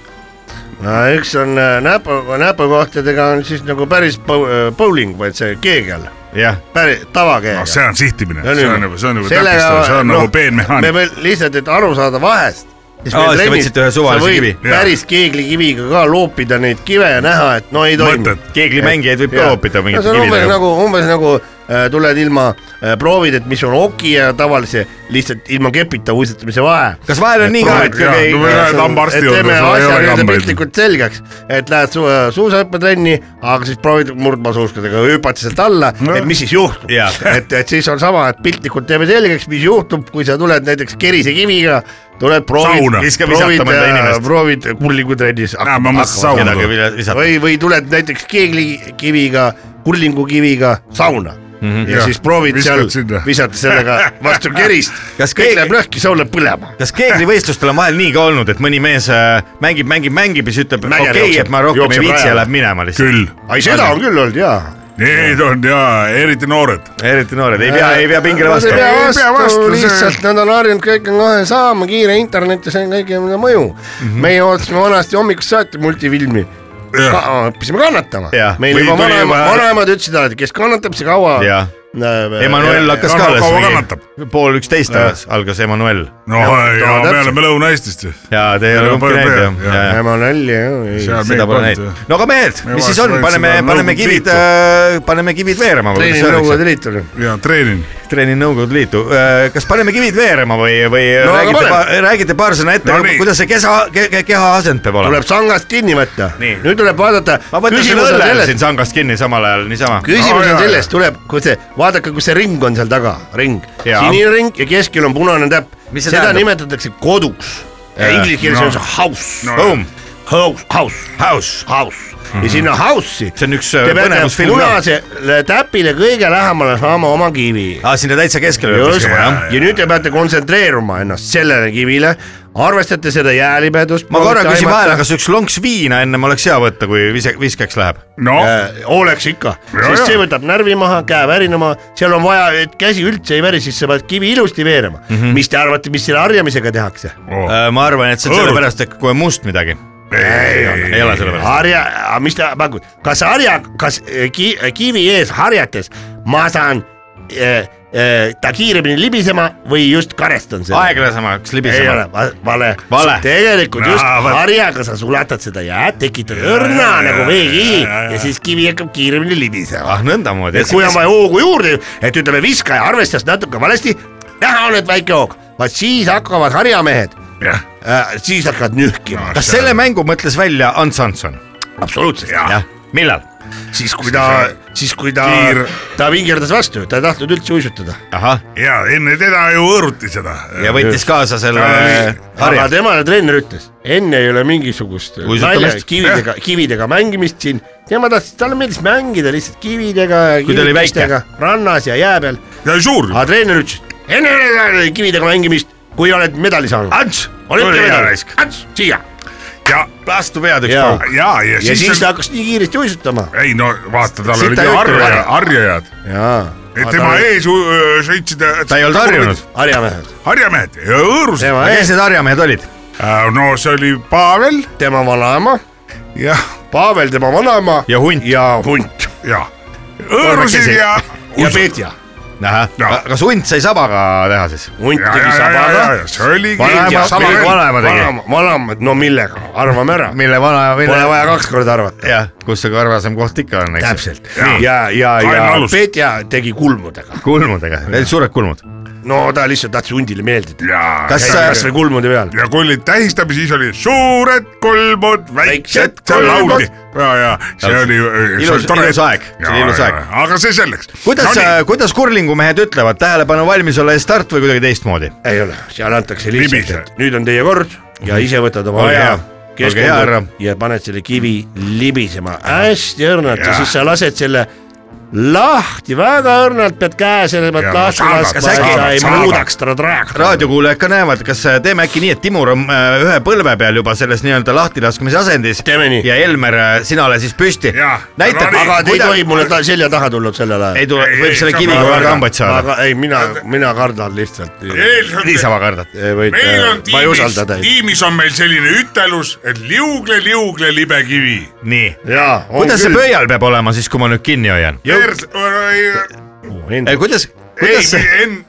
no üks on äh, näpu , näpukohtadega on siis nagu päris bow- äh, bowling , vaid see keegel ,
jah ,
päris tavakeegel
no see on sihtimine ,
Ja
see
nüüd-
on juba , see on juba
sellega-
täpistav , see on
noh,
nagu
me
peenmehaanik .
veel lihtsalt , et aru saada vahest .
Aa, siis te võtsite ühe suvalise kivi.
Jaa.
päris keeglikiviga ka loopida neid kive ja näha , et no ei toimi .
mõtted ,
keeglimängijaid võib ka
Jaa.
loopida
no
mingite
see on umbes
kividega .
nagu , umbes nagu äh, tuled ilma , proovid , et mis on oki ja tavalise lihtsalt ilma kepita uisutamise vahe .
kas vahel on nii ka ,
Proovid
et
ka,
keegi
no või lähed hambaarsti
et
juurde,
teeme
sul ei
asja
ole
nii-öelda
kambaid.
piltlikult selgeks , et lähed su suusahüppetrenni , aga siis proovid murdmaasuuskadega , hüppad sealt alla , et mis siis juhtub .
Jaa.
et , et siis on sama , et piltlikult teeme selgeks , mis juhtub , kui sa tuled näiteks kerisekiviga , tuled proovid
Sauna. ,
Viskab
proovid äh,
visatama enda inimest. ,
proovid kurlingutrennis .
näe , ma mõtlesin sauna
kedagi
tuleb .
vilja- visata .
või , või tuled näiteks keeglikiviga , kurlingukiviga sauna mm . -hmm. ja,
Jah,
ja siis proovid
Mhm. viskad
seal
sinna.
visata sellega vastu kerist ,
Kas
kõik
keegi-
läheb lõhki , saun läheb põlema .
kas keeglivõistlustel on vahel nii ka olnud , et mõni mees äh, mängib , mängib , mängib ja siis ütleb ,
Mäger
okei ,
jookseb-
et ma rohkem ei
jookseb
viitsi ja
rajale.
läheb minema lihtsalt .
küll ,
ai , seda on küll olnud jaa .
need on ja eriti noored .
eriti noored ei pea , ei pea pingele
Nad ei
vastu .
pea
Ei
vastu,
pea vastu, see-
lihtsalt nad on harjunud kõik on kohe saama , kiire internet ja see on kõige mõju mm .
Mhm.
-hmm. meie ootasime vanasti hommikust saati multifilmi . Ka, õppisime kannatama
Jah. ,
meil
Või
juba
tuli
vanaema ,
juba-
vanaemad ütlesid alati , kes kannatab , see kaua .
Jah. Emmanuel hakkas ka
No, no,
alles
kaua kannatab?
mingi pool üksteist alles algas Emmanuel
no ja me
täpselt.
oleme Lõuna-Eestist ju .
ja te ei ole
Ja,
kumbki
pea-
näinud
jaa.
jah ja. ?
Emmanuel ja .
seal
seda
meil
pole
polnud ju
näinud . no aga mehed ,
Me
mis siis
vahest
on ,
võiks
paneme
seda ,
paneme
Nõukogude
kivid äh,
Liitu. ,
paneme kivid veerema või mis
treenib
öeldakse ?
Nõukogude Liitu
ja treenin .
treenin Nõukogude Liitu , kas paneme kivid veerema või , või
No
no,
aga
räägite
paneme. ,
räägite paar sõna ette
No nii.
no, , kuidas see kesa ke, , ke, keha asend peab olema ?
tuleb sangast kinni võtta .
Nii.
nüüd tuleb vaadata .
ma võtan selle
küsimus on
õlle
selles ,
siin sangast kinni samal ajal niisama .
küsimus
Aa,
on
jaa,
selles , tuleb , kui see , vaadake , kus see ring on seal taga , ring .
Jaa.
sinine ring ja keskel on punane täpp .
Mis see
seda
tähendab?
nimetatakse koduks . Inglise keeles on see house .
Home ,
House , house ,
house ,
house ja sinna house'i
Mhm. see on üks
te
äh,
peate
põnevus film ka .
punasele täpile kõige lähemale saama oma kivi .
aa , Ah, sinna täitsa keskele peab
just ,
viskama jah ?
ja nüüd te peate kontsentreeruma ennast sellele kivile , arvestate seda jäälibedust .
ma korra küsin vahele , kas üks lonks viina ennem oleks hea võtta , kui vise- , viskeks läheb ?
no
Äh, oleks ikka , sest see võtab närvi maha , käe värinema , seal on vaja , et käsi üldse ei värise , siis sa paned kivi ilusti veerema mm .
Mhm.
-hmm. mis te arvate , mis selle harjamisega tehakse ?
oh.
Äh, ma arvan , et see on
Õõrud.
sellepärast , et kui on must midagi . ei ole sellepärast .
harja , mis te pakute , kas harja , kas äh, ki, äh, kivi ees harjates ma saan äh, äh, ta kiiremini libisema või just karestan seda ?
aeglasemaks
ei
libisema
ole . va- vale,
Vale.
tegelikult just
Aa, vot.
harjaga sa sulatad seda jääd , tekitad õrna
jaa,
nagu
jaa,
veekihi
jaa, jaa.
ja siis kivi hakkab kiiremini libisema .
ah nõndamoodi
et . kui on vaja hoogu juurde , et ütleme , viskaja arvestas natuke valesti , näha on , et väike hoog , vaat siis hakkavad harjamehed
jah ,
äh, , siis hakkavad nühkima ,
kas selle mängu mõtles välja Ants Hanson ?
absoluutselt ,
jah , millal ?
siis kui ta , siis kui ta
Kiir- ,
ta vingerdas vastu , ta ei tahtnud üldse uisutada ,
ahah ,
ja enne teda ju hõõruti seda .
ja võttis kaasa selle
Äh,
Jaa,
aga
harja .
temale treener ütles , enne ei ole mingisugust
Uisutamist.
nalja , kividega , kividega mängimist siin , tema tahtis , talle meeldis mängida lihtsalt kividega ja
Kui ta oli väike.
kivikestega rannas ja jää peal ,
ja suur .
aga treener ütles , enne ei ole kividega mängimist , kui oled medali saanud , Ants ,
Tule,
olümpiamedal
Janek. ,
Ants , siia
ja ,
vastu pead üks
Jaa.
pauk .
ja , ja
ja siis
siis
ta . hakkas nii kiiresti uisutama .
ei no vaata , tal
Siit
olid
ta
ju
ei ütle
harja
midagi. ,
harjajad .
jaa .
et tema ees u- sõitsid .
ta ei olnud harjunud ..
harjamehed ,
harjamehed ja hõõrused .
tema
kes
ees ,
need harjamehed olid ?
no see oli Pavel
tema vanaema ,
ja ,
Pavel , tema vanaema
ja hunt .
ja hunt
ja hõõrusid
Kolmekesi.
ja .
ja Petja .
ahah , kas hunt sai sabaga teha siis ?
hunt
ja ,
tegi
ja , ja , ja
sabaga ,.
see oligi .
vanaema ,
vanaema tegi.
vanaema , no millega , arvame ära ,
mille vana ,
pole
mille ,
vaja kaks korda arvata .
jah , kus see karvasem koht ikka on , eks .
täpselt ja , ja , ja
Ainulus.
Petja tegi kulmudega .
kulmudega , need suured kulmud .
no ta lihtsalt tahtis hundile meeldida .
jaa .
kas , kas või kulmude peal ?
ja kui olid tähistame , siis oli suured kulmud , väiksed kulmud . ja , ja see oli .
Ilus- ilus aeg, see oli ilus aeg.
aga see selleks .
kuidas no , kuidas kurlingumehed ütlevad , tähelepanu valmis ole ja start või kuidagi teistmoodi ?
ei ole , seal antakse
Libise.
lihtsalt , et nüüd on teie kord ja ise võtad oma
Ole hea. Olge hea, härra.
keskendud ja paned selle kivi libisema hästi õrnalt ja siis sa lased selle lahti , väga õrnalt pead käe selle
Ja,
pealt lahti
saabad,
laskma , et
saabad,
sa ei
saabad.
muudaks teda traaktorit .
raadiokuulajad ka näevad , kas äh, teeme äkki nii , et Timur on äh, ühe põlve peal juba selles nii-öelda lahtilaskmise asendis
Teeme nii.
ja Elmer , sina ole siis püsti
Jaa. .
näita ,
No nii.
aga te ei tohi mulle ta selja taha tulla sellel ajal .
ei tule ,
Ei,
võib
ei,
selle
saab
kiviga
väga
väga
kardan.
hambaid saada .
aga ei , mina , mina kardan lihtsalt .
niisama kardad .
võid
meil on ,
ma ei usalda teid .
tiimis , tiimis on meil selline ütelus , et liugle , liugle libekivi .
nii ,
jaa , on
kuidas see
küll .
pöial peab olema siis , kui ma nüüd kinni hoian ?
ei ,
kuidas , kuidas ,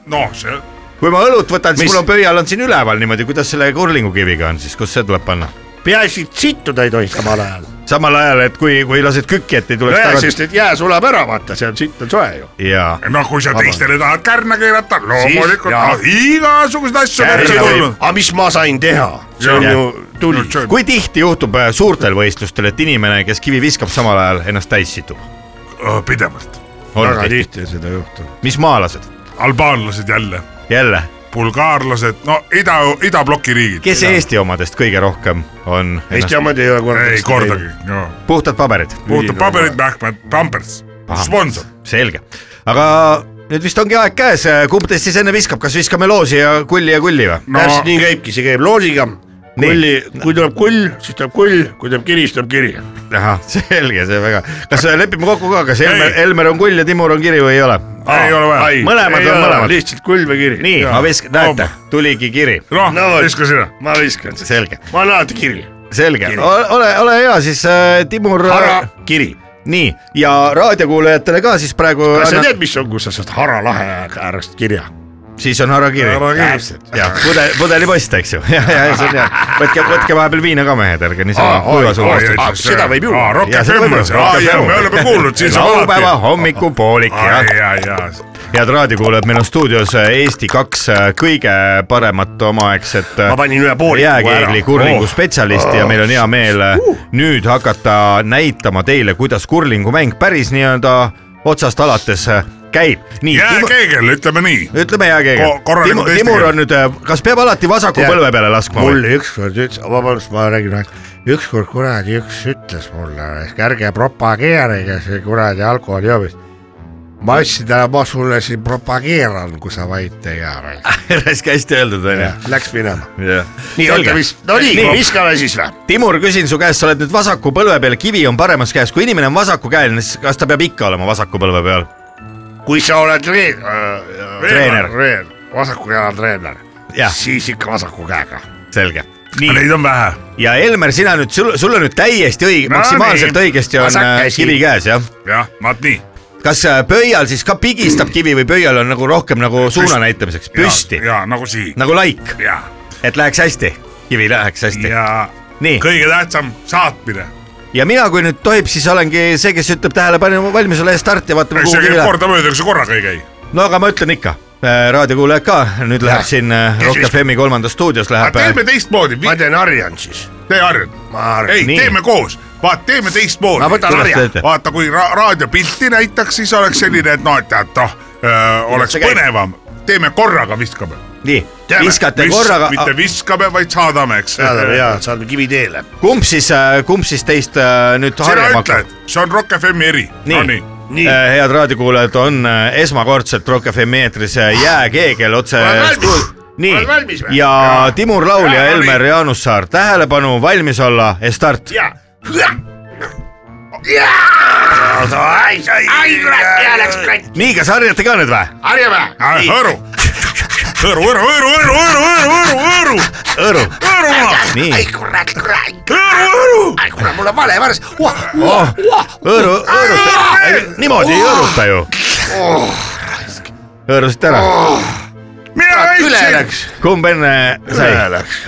noh , see ,
kui ma õlut võtan , siis
Mis-
mul on pöial on siin üleval niimoodi , kuidas selle kurlingukiviga on siis , kus see tuleb panna ?
peaasi , et sittuda ei tohi samal ajal .
samal ajal , et kui , kui lased kükki , et ei tuleks
nojah ,
tagasi
sest et jää sulab ära , vaata , see on sitt on soe ju .
ja
noh , kui sa teistele tahad kärna keerata , loomulikult
jaa.
no, igasuguseid asju on ette tulnud .
aga mis ma sain teha ? see on
Jah.
ju tuli .
kui tihti juhtub äh, suurtel võistlustel , et inimene , kes kivi viskab , samal ajal ennast täis situb ?
pidevalt ,
väga tihti seda juhtub .
mis maalased ?
albaanlased jälle ,
jälle ,
bulgaarlased , no ida , idabloki riigid .
kes Eesti omadest kõige rohkem on ennast...
Eesti omad ei ole kordagi .
ei kordagi , no
puhtad paberid ?
puhtad paberid , mähkmed , pampers , sponsor .
selge , aga nüüd vist ongi aeg käes , kumb teist siis enne viskab , kas viskame loosi ja kulli ja kulli või ?
no
täpselt nii käibki , see käib loosiga .
Nii.
kulli , kui tuleb kull , siis tuleb kull , kui tuleb kiri , siis tuleb kiri .
ahah , selge , see väga , kas äh, lepime kokku ka , kas Elmer ,
Ei.
Elmer on kull ja Timur on kiri või ei ole ?
ei ole vaja .
mõlemad on mõlemad .
lihtsalt kull või kiri .
nii , ma viskan , näete , tuligi kiri ,
No
noh ,
vot.
viska sina .
ma viskan siis .
selge ,
ma olen alati kiri .
selge ,
Kiri.
ole , ole hea siis äh, Timur .
hara , kiri .
nii , ja raadiokuulajatele ka siis praegu
kas sa
annan-
tead , mis on , kus sa saad Hara lahe äärest kirja ?
siis on harakiri .
täpselt .
jah , pudel , pudelipost , eks ju . ja , ja , ja see on hea . võtke , võtke vahepeal viina ka mehed , ärge niisama kuiva suhu astuda .
seda võib ju-
Rock
Jaa, seda
FM
võib ju-
on see , aa
Rock
jaa ,
FM.
me oleme kuulnud , siin saab
laupäeva
alati .
hommikupoolik
aa
ja
jaa , jaa ,
head raadiokuulajad , meil on stuudios Eesti kaks äh, kõige paremat omaaegset äh,
ma panin ühe pooliku
jääkeegli
ära . Oh. Uh.
kurlinguspetsialisti ja meil on hea meel äh, nüüd hakata näitama teile , kuidas kurlingumäng päris nii-öelda otsast alates äh, käib . nii ,
jääkeegel , ütleme nii .
ütleme
Ko-
jääkeegel .
korralikult
Timur ,
eesti
Timur
keeles.
on nüüd , kas peab alati vasaku
Jaa.
põlve peale laskma ?
mulle ükskord ütles , vabandust , ma räägin ainult , ükskord kuradi üks ütles mulle , ärge propageerige see kuradi alkoholi joomist . ma ütlesin talle , ma sulle siin propageeran , kui sa vait ei jää .
raske hästi öeldud onju .
Läks minema . nii , oota ,
selge ,
mis , no nii , viskame siis või ?
Timur , küsin su käest , sa oled nüüd vasaku põlve peal , kivi on paremas käes , kui inimene on vasakukäeline , siis kas ta peab ikka olema vasaku põlve peal ?
kui sa oled reen- ,
Treener.
reen- , vasaku jala treener ,
jah ,
siis ikka vasaku käega .
selge . nii ,
Neid on vähe .
ja Elmer , sina nüüd , sul , sul on nüüd täiesti õige ,
No
maksimaalselt
nii.
õigesti on
Vasak
äh,
käsi.
kivi käes , jah .
jah , vaat nii .
kas äh, pöial siis ka pigistab kivi või pöial on nagu rohkem nagu suuna näitamiseks , püsti ,
jaa , nagu siin .
nagu laik ,
jaa ,
et läheks hästi , kivi läheks hästi .
ja
nii ,
kõige tähtsam saatmine .
ja mina , kui nüüd tohib , siis olengi see , kes ütleb tähelepanu , valmis ole , start ja vaatame ,
see
kuhu kivi
käib
läheb .
kordamööda , kui sa korraga ei käi .
no aga ma ütlen ikka , raadiokuulajad ka , nüüd läheb siin äh, Rock
Kes-
FM-i kolmandas stuudios läheb äh,
aga teeme teistmoodi ,
ma teen harjan siis .
tee harjun .
ma harjan .
ei ,
Nii.
teeme koos , vaat teeme teistmoodi .
Ma võtan
harja. teete?
vaata , kui ra raadiopilti näitaks , siis oleks selline , et noh , et tead , noh , oleks
see käib?
põnevam . teeme korraga , viskame .
nii , viskate korraga ,
mitte viskame , vaid saadame , eks .
saadame ja saadame kivi teele .
kumb siis , kumb siis teist äh, nüüd
sina
harjama
ütle
hakkab ?,
see on Rock FM-i eri .
nii,
Nonii ,
nii.
Äh, head raadiokuulajad , on äh, esmakordselt Rock FM-i eetris äh, jääkeegel otse
Oled valmis?
stuud- nii
Oled valmis , või?
ja
Jaa.
Timur Laul ja
Jaa, no
Elmer Jaanussaar , tähelepanu , valmis olla , start .
ja , ja , ai , ai , ai , ja läks katki ,
nii , kas harjate ka nüüd või ?
harjame .
hõõru . hõõru , hõõru , hõõru , hõõru , hõõru , hõõru , hõõru ,
Õõru ,
hõõru ,
nii
ai , kurat , kurat ,
hõõru , hõõru .
ai kurat , mul on vale varst .
oh, , hõõru , hõõruta , niimoodi ei hõõruta ju .
Oh.
hõõrusid ära ,
mina
üle
ütlesin ,
läks ,
Oh.
kumb enne sai ?
üle läks .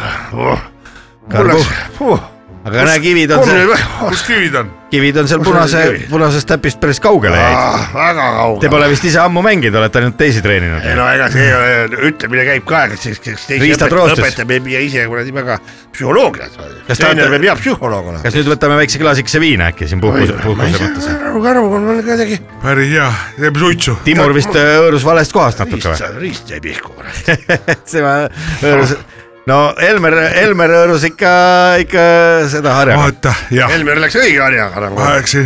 mul läks ,
aga näe , kivid on seal ,
kus kivid on ?
kivid on seal punase , punasest täpist päris kaugele jäid .
Ah, väga kaugel .
Te pole vist ise ammu mänginud , olete ainult teisi treeninud
ei ? no ega see ei ole , ütlemine käib ka , eks , eks , eks teisi
Riistad
õpet-
roostes.
õpetab ei pea ise kuradi väga psühholoogiat .
Kas te
treener
olete-
peab hea psühholoog olema .
kas nüüd võtame väikse klaasikese viina äkki siin puhkuse , puhkuse mõttes ?
Karl , Karl on kuidagi ,
päris hea , teeb suitsu .
Timur vist äh, hõõrus valest kohast natuke või ?
riist , riist jäi pihku kurat .
tema hõõrus , no Helmer , Helmer hõõrus ikka , ikka seda harjaga .
vaata , jah ,
Helmer läks õige harjaga nagu .
kaheksa .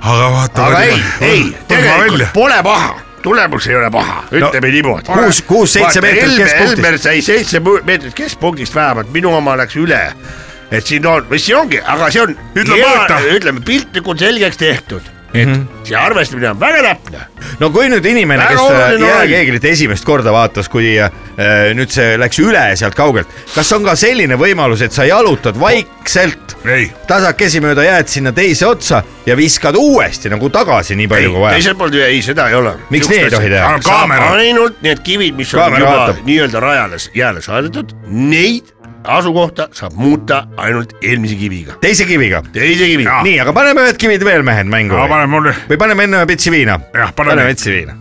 aga vaata .
aga ei , ei , tegelikult . pole paha , tulemus ei ole paha , ütleme niimoodi .
kuus- kuus-seitse meetrit keskpunktist.
Helmer sai seitse pu- meetrit keskpunktist vähemalt , minu oma läks üle . et siin on , mis see ongi , aga see on .
Ütle mõõta.
ütleme piltlikult selgeks tehtud , et
Mhm.
see arvestamine on väga täpne .
no kui nüüd inimene ,
Väga
kes
oluline roll.
jääkeeglit esimest korda vaatas , kui äh, nüüd see läks üle sealt kaugelt , kas on ka selline võimalus , et sa jalutad vaikselt
ei ,
tasakesi mööda jääd sinna teise otsa ja viskad uuesti nagu tagasi , nii palju kui vaja ?
teiselt poolt ei , seda ei ole .
Miks nii ei tohi teha?
Aga kaamera-
ainult need kivid , mis on
Kaamera
juba
vaatab.
nii-öelda rajale , jääle saadetud , neid asukohta saab muuta ainult eelmise kiviga ,
teise kiviga .
teise kiviga .
nii , aga paneme ühed kivid veel , mehed , mängu .
Ah. aga pane mulle ,
või paneme enne ühe pitsi viina .
Jah, Äh, paneme.
paneme pitsi viina .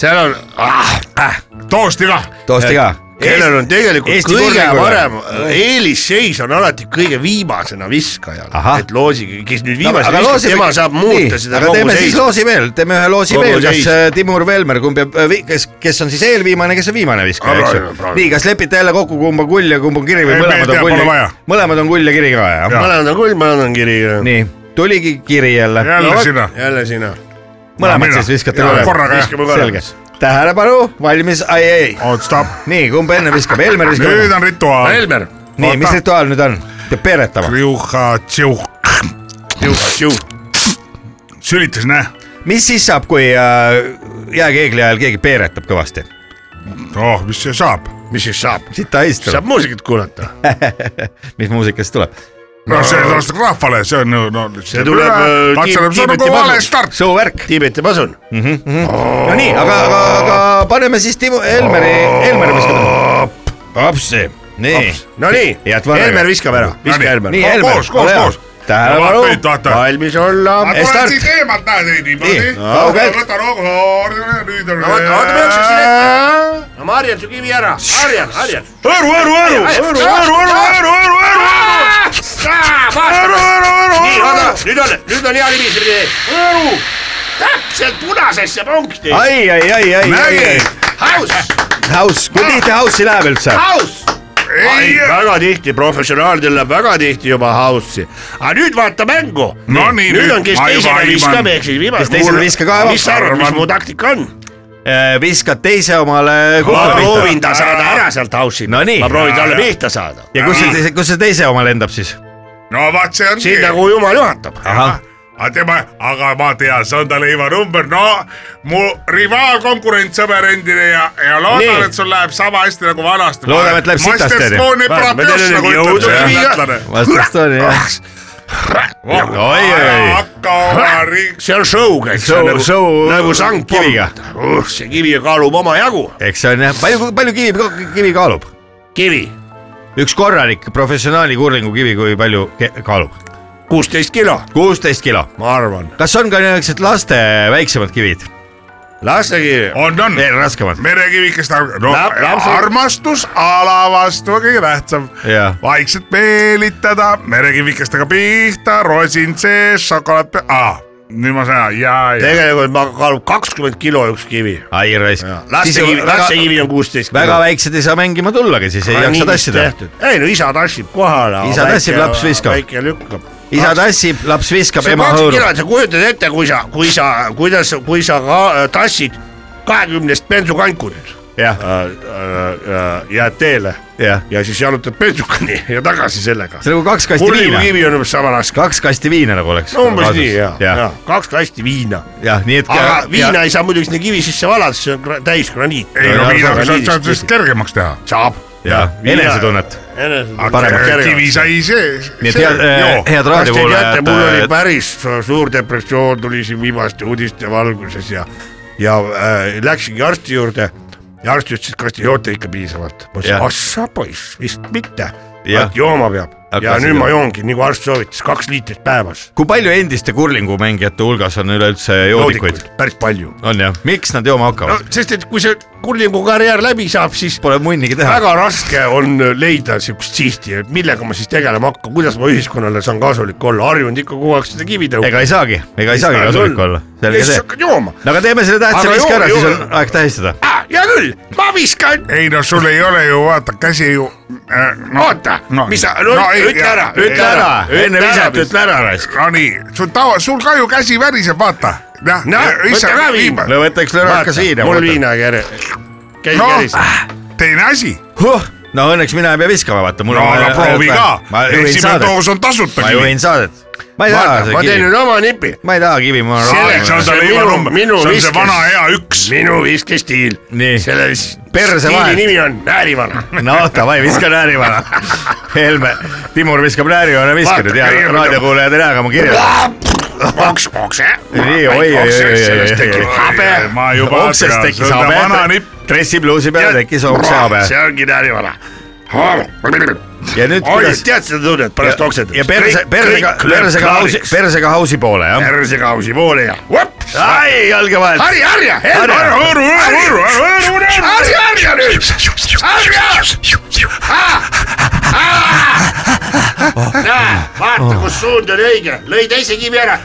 seal on ah, ,
toosti ka .
toosti ka .
kellel on tegelikult
Eesti
Eesti kõige
korvpallikule.
parem eelisseis on alati kõige viimasena viskajal
Ahah. ,
et loosige , kes nüüd viimasena viskab , tema saab muuta seda
kogu seisu .
kogu
teeme siis
seisu .
loosi veel , teeme ühe loosi
Kogu
veel , kas
seisu.
äh, Timur Velmer , kumb jääb , kes , kes on siis eelviimane , kes on viimane viskaja , eks ju . nii , kas lepite jälle kokku , kumb on kull ja kumb on kiri või
Ei,
mõlemad
me ei
on
tea,
kull
pole
ja
vaja. ,
mõlemad on kull ja kiri ka , jah ?
mõlemad on kull , mõlemad on kiri .
nii , tuligi kiri jälle .
jälle no, sina .
jälle sina .
mõlemad
mina.
siis viskate
Jaa,
korraga .
korraga, jah.
selge . tähelepanu , valmis , ai ei .
oot , stopp .
nii , kumb enne viskab , Helmer
nüüd
viskab .
on rituaal .
Helmer ,
nii , mis rituaal nüüd on ? peab peeretama .
Kriuha tšiuh . sülitas , näe .
mis siis saab , kui äh, jääkeegli ajal keegi peeretab kõvasti ?
oh , mis see saab ?
mis siis saab ?
siit ta istub ,
saab muusikat kuulata ,
mis muusikast tuleb .
no Noh, see on vast rahvale , see on ju , no . see
tuleb, äh, Tiib-
see on
Tiibeti
nagu vale
panus.
start .
suuvärk .
Tiibeti pasun .
no nii , aga , aga , aga paneme siis Timo , Helmeri , Helmeri viskame . apsi , nii ,
Nonii ,
Jääd vanaga.
Helmer viskab ära , viska Helmer .
nii
No
Helmer
koos, , koos,
ole hea
koos. .
tähelepanu
vaata , nüüd , vaata .
valmis olla .
ma
start.
tulen siit eemalt , näed , niimoodi
Nii, . kaugelt.
võta rohu , nüüd on .
oota , oota , ma jooksen sinna ette . no ma harjan su kivi ära , harjan , harjan .
Aru , aru , aru , aru , aru , aru , aru , aru , aru , aru , aru , aru ,
nii ,
aru ,
oota
aru .,
nüüd on , nüüd on hea libistamine ees . täpselt punasesse punkti .
ai , ai , ai , ai , ai , ai ,
House ,
house , kui tihti house'i läheb üldse ?
house . ei , väga tihti , professionaalidel läheb väga tihti juba house'i . aga nüüd vaata mängu .
No nii,
nüüd
nüüd
on , kes
ma juba
teisele
viban.
viskab , ehk siis viimane .
Kes teisele viska ka ei
mis sa arvad , mis mu taktika on ?
Äh, viskad teise omale
ma
kukla
proovin
pihta .
ta saada ära sealt house'i
No nii.
ma proovin talle pihta saada .
ja kus see teise , kus see teise oma lendab siis ?
no vaat see ongi .
siin nagu jumal juhatab .
ahah ,
aga tema , aga ma tean , see on ta leivanumber , no mu rivaalkonkurent , sõber endine ja , ja
Nii.
loodan , et sul läheb sama hästi nagu vanasti .
Loodame, et läheb sitasti, on ju.
Ma tean,
nagu
et jõudu viiga.
ju .
vastu Estonia jah . Oi, oi, oi.
hakka oma riik- .
see on show , eks .
show , show .
nagu sang
kiviga .
uh, . see kivi kaalub omajagu .
eks see on jah , palju , palju kivi , kivi kaalub ?
kivi
üks korralik professionaali kurlingu kivi , kui palju ke- kaalub ?
kuusteist kilo ,
kuusteist kilo .
ma arvan .
kas on ka niisugused laste väiksemad kivid ,
lastekivi .
on , on .
veel raskemad ?
merekivikest , no äh,
Läheb- läheb see-
armastus ala vastu on kõige tähtsam .
Jaa.
vaikselt meelitada , merekivikestega pihta , rosin sees , šokolaad pe- , aa , nüüd ma saan , jaa , jaa .
tegelikult ma kaalub kakskümmend kilo üks kivi .
ai raisk .
lastekivi , lastekivi on kuusteist kilo .
väga väiksed ei saa mängima tullagi , siis ei jaksa tassida .
ei no isa tassib kohale .
Isa tassib, laps viskab.
väike lükkab .
isa tassib , laps viskab ,
see
ema
kakskümmend
hõõrub .
kilot , sa kujutad ette , kui sa , kui sa , kuidas , kui sa ka, äh, tassid kahekümnest bensukankurit
jah ,
äh, äh, jääd teele
jah .
ja siis jalutad bensukani ja tagasi sellega .
see on nagu kaks kasti viina .
kurvikivi on umbes sama raske .
kaks kasti viina nagu oleks .
umbes nii ja , ja
jah ,
kaks kasti viina .
jah , nii et .
aga viina . ei saa muidugi sinna kivi sisse valada , see on gra- täis graniit .
ei no
Jaa,
viinaga saad , saad sellest kergemaks teha .
saab .
jah , enesetunnet .
paremaks
kivi sai sees .
nii et head ,
äh,
head
kas te teate , mul oli
raadiokuulajad . äh,
päris suur depressioon , tuli siin viimaste uudiste valguses ja , ja äh, läksingi arsti juurde ja arst ütles , et kas te joote ikka piisavalt . ma ütlesin ,
Jah.
ah sa poiss , vist mitte .
Jah.
jooma peab . ja nüüd ma joongi nagu arst soovitas , kaks liitrit päevas .
kui palju endiste kurlingumängijate hulgas on üleüldse joodikuid ?
päris palju .
on jah , miks nad jooma hakkavad ?
sest et kui see kurlingu karjäär läbi saab , siis
Pole munnigi teha .
väga raske on äh, leida siukest sihti , et millega ma siis tegelema hakkan , kuidas ma ühiskonnale saan kasulik olla , harjunud ikka kogu aeg seda kivi tõukama .
ega ei saagi , ega ei saagi kasulik olla .
ja
selge
siis
see .
hakkad jooma .
no aga teeme selle tähtsa
Aga
viske
joo-
ära , siis
joo-
on aeg tähistada .
hea küll , ma viskan ,
ei no sul ei ole ju vaata käsi ju äh, .
oota
No,
no, , mis sa ,
no ei,
ütle
jah,
ära ,
ei,
ütle ära ,
enne viset ütle ära raisk .
Nonii , sul tava , sul ka ju käsi väriseb , vaata . noh
No, võta ka viim.
no võtaks lõrakas viina .
mul viina käri , käi
Noh.
käris .
ah,
teine asi ,
huh, . no õnneks mina ei pea viskama , vaata .
no aga proovi ka
ma . juhin
esimene
saadet ,
doos on tasuta
ma . juhin saadet . ma ei taha
vaata , ma
seda
teen
kivi ,
nüüd oma nipi ,
ma ei taha kivi , ma
see on
olen .
tal
see on
juba
minu-
number , see
minu
on see
viskes.
vana hea üks .
minu viskestiil ,
nii ,
selle s-
Perse
stiili
vahel.
nimi on Väärivana .
no davai , viska näärivana . Helme , Timur viskab näärivana viskanud ja
Vaata,
raadiokuulajad ei näe , aga ma kirjeldan .
oks , oks ,
nii , oi , oi , oi , oi , oi , oi .
ma juba
oksest tekkis habe , dressipluusi peale tekkis oksehabe
see ongi Väärivana .
ja nüüd
oi ,
kuidas
tead seda tunnet pärast oksendat ?
ja perse , persega , persega hausi , persega hausi poole jah .
persekausi poole ja vops ,
ai , jalge vahelt .
harja , harja , harja , harja , harja nüüd , harja . näe ,
Oh.
vaata , kus suund on õige , lõi teise kivi ära .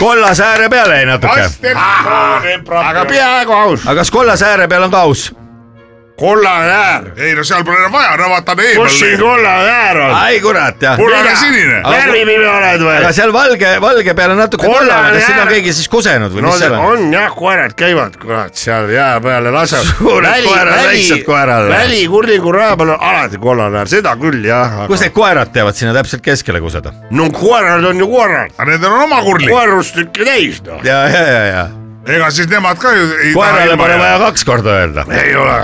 kollase ääre peale jäi natuke ,
aga peaaegu aus .
aga kas kollase ääre peal on ka aus ?
kollane äär ,
ei no seal pole enam vaja , no vaata need
kus siin
eemal .
kollane äär on ?
ai kurat jah .
punane sinine .
värvipime oled
aga
või ?
seal valge , valge peal on natuke
Kollane
kollane , kas sinna
äär-
on keegi siis kusenud või
no
mis
see
seal on ?
on jah , koerad käivad , kurat , seal jää peale lasevad .
Suured koerad, väiksed koerad.
välikurlingu raja peal on alati kollane äär , seda küll jah .
kus need koerad teevad sinna täpselt keskele kuseda ?
no koerad on ju koerad ,
aga nendel on oma kurli ,
koerustükki täis noh .
ja , ja , ja , ja
ega siis nemad ka ju ei
koerale pole
jääda.
vaja kaks korda öelda ,
ei ole ,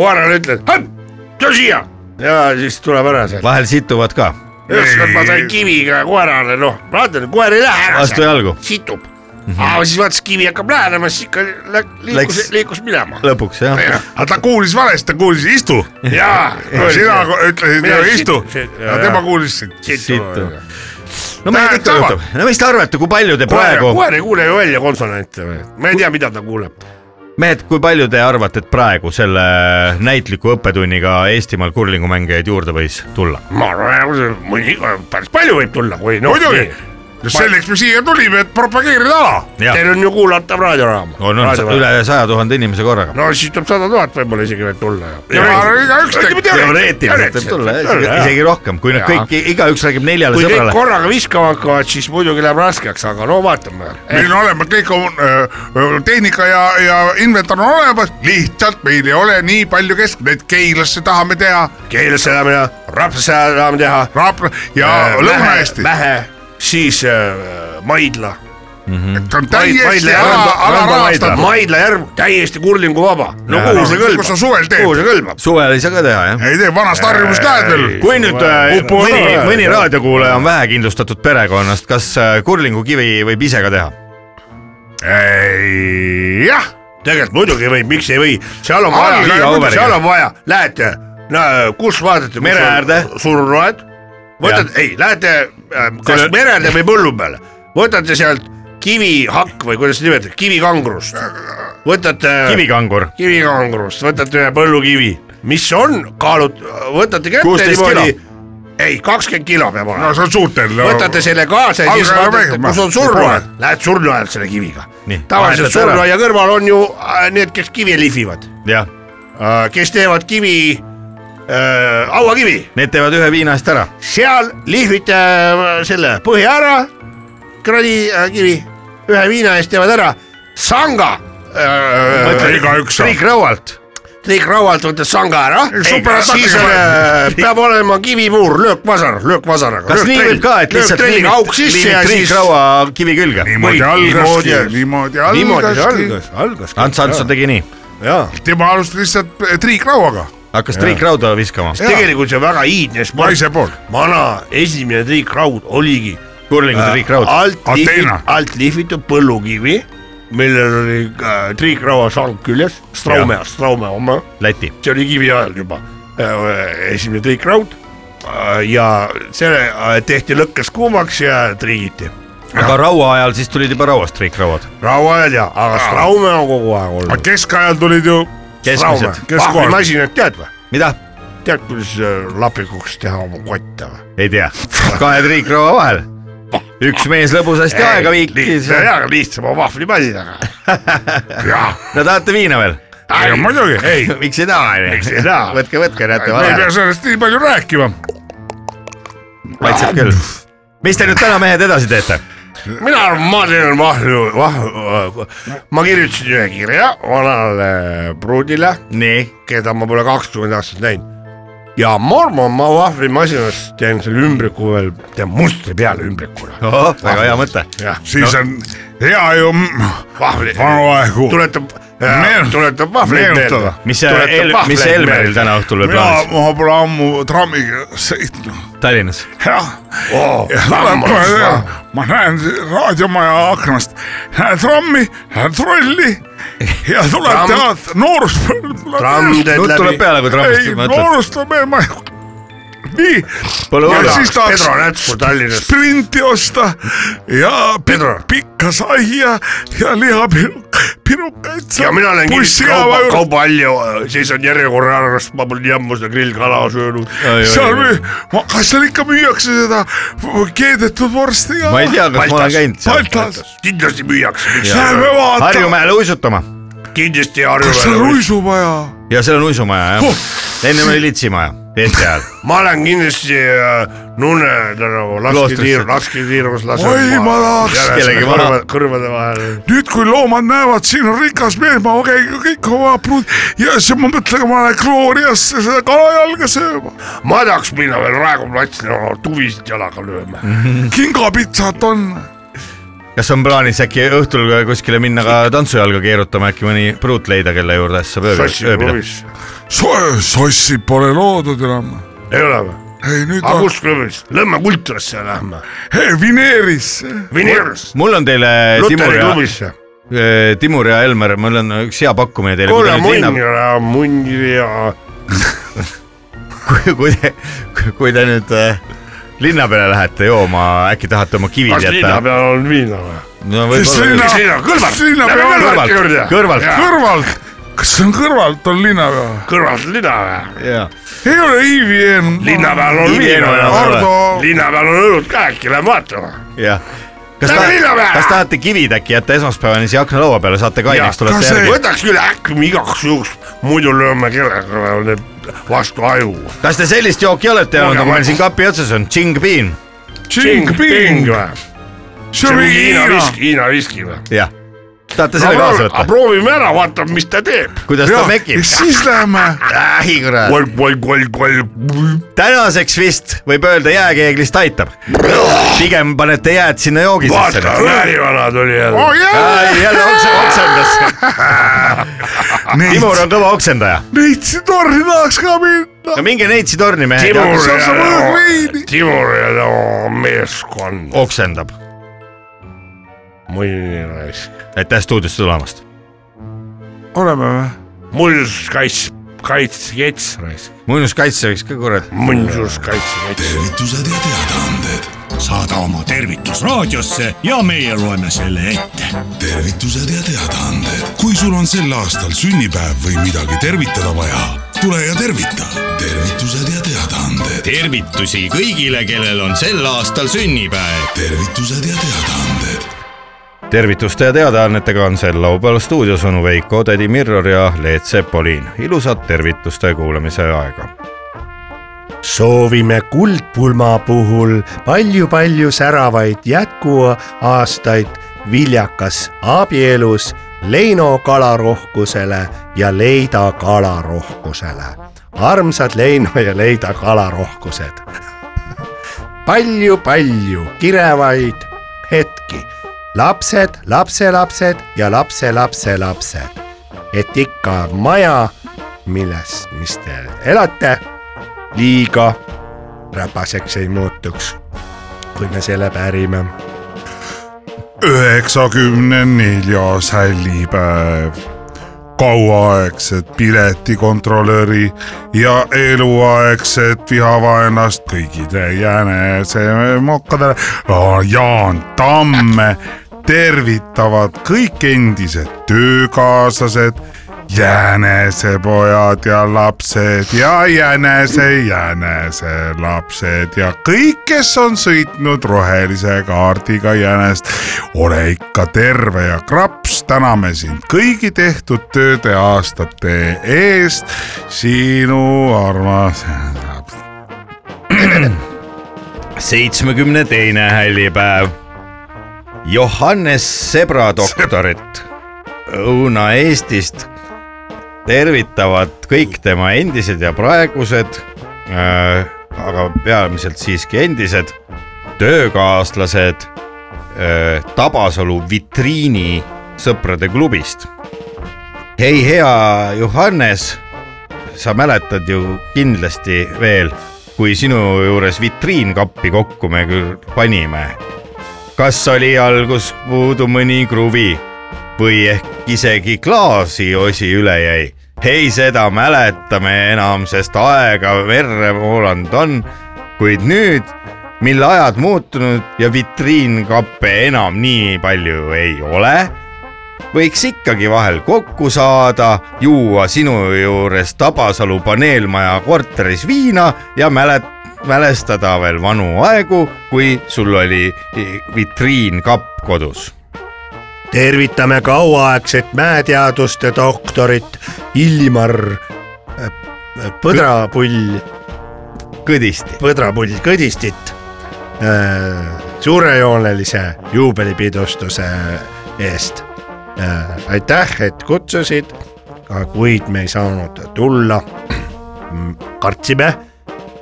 koerale ütled , tule siia ja siis tuleb ära sealt .
vahel situvad ka ,
ükskord ma sain kiviga koerale , noh , vaata koer ei lähe ära
vastu
sealt ,
jalgu
situb . aga siis vaatas , kivi hakkab lähenema , siis ikka lä- liikus
Läks. ,
liikus minema .
lõpuks jah .
aga ta kuulis valesti , ta kuulis istu .
jaa .
sina ko- ütlesid
Mina
ju
sit-
istu
sit- ,
aga tema kuulis sind .
situ . no ma ei tea ,
Tähendab,
ikka juhtub , no mis te arvate , kui palju te
koer ,
praegu ,
koer ei kuule ju välja konsonante või , ma ei tea , mida ta kuuleb .
mehed , kui palju te arvate , et praegu selle näitliku õppetunniga Eestimaal kurlingumängijaid juurde võis tulla ?
ma arvan , mõni , päris palju võib tulla , kui noh .
muidugi , selleks me siia tulime , et propageerida ala .
jah ,
Teil on ju kuulatav raadioraam .
on , on üle saja tuhande inimese korraga .
no siis tuleb sada tuhat võib-olla isegi veel tulla ju .
igaüks
teoreetiliselt võib tulla jah , isegi, isegi rohkem , kui nad
Jaa.
kõik , igaüks räägib neljale
kui kõik
sõbrale .
korraga viskama hakkavad , siis muidugi läheb raskeks , aga no vaatame .
meil on olemas kõik on, öö, öö, tehnika ja , ja inventar on olemas , lihtsalt meil ei ole nii palju keskmeid , Keilasse tahame teha ,
keelesse saame teha , Rapsa saame teha .
Raapla ja Lõuna-Eesti .
Vähe , siis äh, Maidla . Hmm.
on täiesti ala , alarahastatud .
Maidla järv , täiesti kurlinguvaba . no kuhu see
kus sa
kõlbab ,
suvel
kuhu
teed ?
see kõlbab ?
suvel ei saa ka teha jah .
ei tee vanast harjumust näed veel .
kui nüüd äh, mõni , mõni raadiokuulaja on vähekindlustatud perekonnast , kas äh, kurlingukivi võib ise ka teha ?
jah ,
tegelikult muidugi võib , miks ei või , seal on
Algaja
vaja ,
Auveriga.
seal on vaja , lähete , no kus vaatate ,
Mere äärde.
surnuaed , võtate , ei , lähete äh, kas
Selle-
mere äärde või põllu peale , võtate sealt kivihakk või kuidas seda nimetada , kivikangrust , võtate
kivikangur .
kivikangrust , võtate ühe põllukivi , mis on kaalut- , võtate kätte
16 kilo.
niimoodi , ei , kakskümmend kilo peab olema
no see on suurtel .
võtate selle kaasa ja siis
Algaja
vaatate ,
mängima.
kus on surnuaed , lähed surnuaed selle kiviga
Nii, .
tavaliselt
vahetad ära.
surnuaia kõrval on ju äh, need , kes kivi lihvivad ,
jah ,
kes teevad kivi äh, , hauakivi ,
need teevad ühe viina eest ära .
seal lihvite äh, selle põhja ära , kranikivi äh, , ühe viina eest teevad ära , sanga äh, ,
igaüks saab .
triikraualt .
triikraualt võtad sanga ära ,
super-
siis on, äh, peab olema kivipuur , löökvasar , löökvasaraga .
kas nii võib ka , et lihtsalt
liimid auk sisse ja siis
triikraua kivi külge ?
niimoodi algaski , niimoodi
niimoodi see
algaski .
algas , algas .
Ants Hansson tegi nii ,
jaa ,
tema alustas lihtsalt äh, triikrauaga ,
hakkas triikrauda viskama .
tegelikult see on väga iidne sport
naise . poolt .
vana esimene triikraud oligi
kurlingu triikraud .
Ah, alt
Ateena.
lihvitud , alt lihvitud põllukivi , millel ah, oli äh, triikraua sang küljes , Straume , Straume oma ,
Läti .
see oli kivi ajal juba . esimene triikraud ja selle tehti lõkkes kuumaks ja triigiti .
aga raua ajal siis tulid juba rauastriikrauad .
rauaajad ja , aga straume on kogu aeg olnud .
keskajal tulid ju
keskmised .
Ah,
keskkohal .
pahvimasinad tead või ?
mida ?
tead , kuidas äh, lapikuks teha oma kotte või ?
ei tea . kahe triikraua vahel . üks mees lõbusasti aega viikis .
jaa , aga lihtsama vahvlimasinaga .
no tahate viina veel ?
muidugi , ei ,
miks ei taha ? võtke , võtke , näete ,
ma ei
vale
pea , sellest nii palju rääkima .
maitseb küll . mis te nüüd täna , mehed , edasi teete ?
mina arvan , ma teen vahlu , vahlu , ma kirjutasin ühe kirja vanale pruudile ,
nii ,
keda ma pole kakskümmend aastat näinud . ja ma arvan , ma vahvlimasinas teen selle ümbriku veel , teen mustri peale ümbrikule .
väga hea mõte .
siis on hea ju m-
vahvli ,
vanu aegu .
tuletab ,
Meel-
tuletab vahvleid meelde
meenutada. .
mis , mis Elmeril täna õhtul veel
mina ,
plaanis ?
ma pole ammu trammiga sõitnud .
Tallinnas .
jah ,
oh,
ma näen raadiomaja aknast , näen trammi , näen trolli ja tuleb
Tramm-
tead nooruspõlv
tramm
tuleb
teed
nutt tuleb
läbi .
peale , kui
ei
trammist , mõtled .
noorust tuleb eema . nii ,
Pole hullu
Ja . siis tahaks-
Pedro Nätsu Tallinnas .
sprinti osta ja pik- pikka saia ja lihapirukaid .
ja mina olen kindlasti kauba , kaubaalja , siis on järjekorra arvest , ma pole nii ammu seda grillkala söönud .
seal müü- , kas seal ikka müüakse seda keedetud vorsti ka
ma ? ei tea , kas ma olen
Baltas.
käinud seal .
Baltas ,
kindlasti müüakse ,
lähme vaatame ,
Harjumäele uisutama
kindlasti
kas seal
Harjumaal .
uisumaja
ja seal on uisumaja jah . ennem oli litsimaja , teiste ajal .
ma olen kindlasti äh, Nune tänavu lasketiir ,
Kloostrisse.
lasketiirus
Oi, ma tahaks
kellegi vana-
kõrvade vahel .
nüüd , kui loomad näevad , siin on rikas mees , ma käin ju kõik oma pruud ja siis ma mõtlen , ma lähen Gloriasse seda kalajalga sööma .
ma tahaks minna veel Raekoja platsile oma tuvisid jalaga lööma .
Mhm. kingapitsat on ,
kas on plaanis äkki õhtul ka kuskile minna ka tantsujalga keerutama , äkki mõni pruut leida , kelle juurde saab
sassi
ööbida , ööbida ?
klubis ,
sossi pole loodud enam .
ei ole või ?
ei nüüd
aga
on ,
kus klubis ? Lõmme kultrasse lähme .
Vineerisse .
Vineerus ,
mul on teile , Timur
Luteri
ja ,
klubisse .
Timur ja Elmar , mul on üks hea pakkumine teile .
kuule , munn ja munn ja
kui , kui te , kui te nüüd äh, linna peale lähete jooma , äkki tahate oma kivid
kas linna
jätta ?
peal on viina või ?
no
kes
võib-olla .
Kes linna-
linna ,
Kõlvart?
kes linnapea
Lähme
on ?
Kõlvarti juurde.
kõrvalt , kõrvalt ,
kõrvalt , kas see on kõrvalt on linnapea ?
kõrvalt linna või ?
jaa .
ei ole Iivi Eenmaa .
linna peal on
Ivi
viina või ?
Eenmaa peal
Ardo ,
linna peal on õlut ka , äkki lähme vaatame .
jah . kas
Lähme linna
tahate
peale! ,
kas tahate kivid äkki jätta esmaspäevani siia aknalaua peale , saate kaineks ,
kas
tulete järgi .
võtaks küll äkki me igaks juhuks , muidu lööme kellega need vastu aju .
kas te sellist jooki olete jäänud , nagu meil siin kapi otsas on , Ching-Pin ?
Ching-Ping ,
või ? see
see on
on
mingi
mingi Hiina
Hiina .
viski , Hiina viski või ?
jah . tahate selle kaasa
aga
võtta ?
proovime ära , vaatame , mis ta teeb .
kuidas ta
ja
mekib ?
siis läheme
ai kurat .
kolm , kolm , kolm , kolm .
tänaseks vist võib öelda jääkeeglist aitab . pigem panete jääd sinna joogi sisse
vaata , väärivana tuli jälle .
Ai, jälle okse- oksendas . Timur on kõva oksendaja .
Neitsi torni tahaks ka minna .
no minge Neitsi torni mehed ,
Timur
seal saab õlut veini.
ja , Timur ja tema meeskond .
oksendab .
mõni raisk .
aitäh stuudiosse tulemast .
oleme või ?
muinsuskaits , kaitsekets raisk .
muinuskaitse võiks ka korra .
muinsuskaitsekets .
tervitused ja teadaanded . saada oma tervitus raadiosse ja meie loeme selle ette .
tervitused ja teadaanded . kui sul on sel aastal sünnipäev või midagi tervitada vaja , tule ja tervita . tervitused ja teadaanded ,
tervitusi kõigile , kellel on sel aastal sünnipäev .
tervitused ja teadaanded .
tervituste ja teadaannetega on sel laupäeval stuudios onu Veiko , tädi Mirror ja Leet Sepolin . ilusat tervituste kuulamise aega .
soovime Kuldpulma puhul palju-palju säravaid jätkuaastaid viljakas abielus Leino kalarohkusele ja Leida kalarohkusele . armsad Leino ja Leida kalarohkused palju, . palju-palju kirevaid hetki , lapsed , lapselapsed ja lapselapselapsed , et ikka maja , milles , mis te elate liiga räpaseks ei muutuks , kui me selle pärime .
üheksakümne neljas hällipäev . kauaaegset piletikontrolöri ja eluaegset vihavaenlast kõigile jänese mokkadele ja Jaan Tamme tervitavad kõik endised töökaaslased , jänesepojad ja lapsed ja jänese , jäneselapsed ja kõik , kes on sõitnud rohelise kaardiga jänest . ole ikka terve ja kraps , täname sind kõigi tehtud tööde aastate eest . sinu armas laps .
seitsmekümne teine hällipäev . Johannes Sebra doktorit Õuna-Eestist tervitavad kõik tema endised ja praegused äh, , aga peamiselt siiski endised töökaaslased äh, Tabasalu vitriini sõprade klubist . hei , hea Johannes , sa mäletad ju kindlasti veel , kui sinu juures vitriinkappi kokku me küll panime . kas oli algus puudu mõni kruvi või ehk isegi klaasiosi üle jäi ? ei , seda mäletame enam , sest aega verre voolanud on , kuid nüüd , mil ajad muutunud ja vitriinkappe enam nii palju ei ole võiks ikkagi vahel kokku saada , juua sinu juures Tabasalu paneelmaja korteris viina ja mälet- , mälestada veel vanu aegu , kui sul oli vitriinkapp kodus .
tervitame kauaaegset mäeteaduste doktorit Ilmar äh, Põdrapull ,
kõdisti .
Põdrapull Kõdistit äh, suurejoonelise juubelipidustuse eest äh, . aitäh , et kutsusid , kuid me ei saanud tulla . kartsime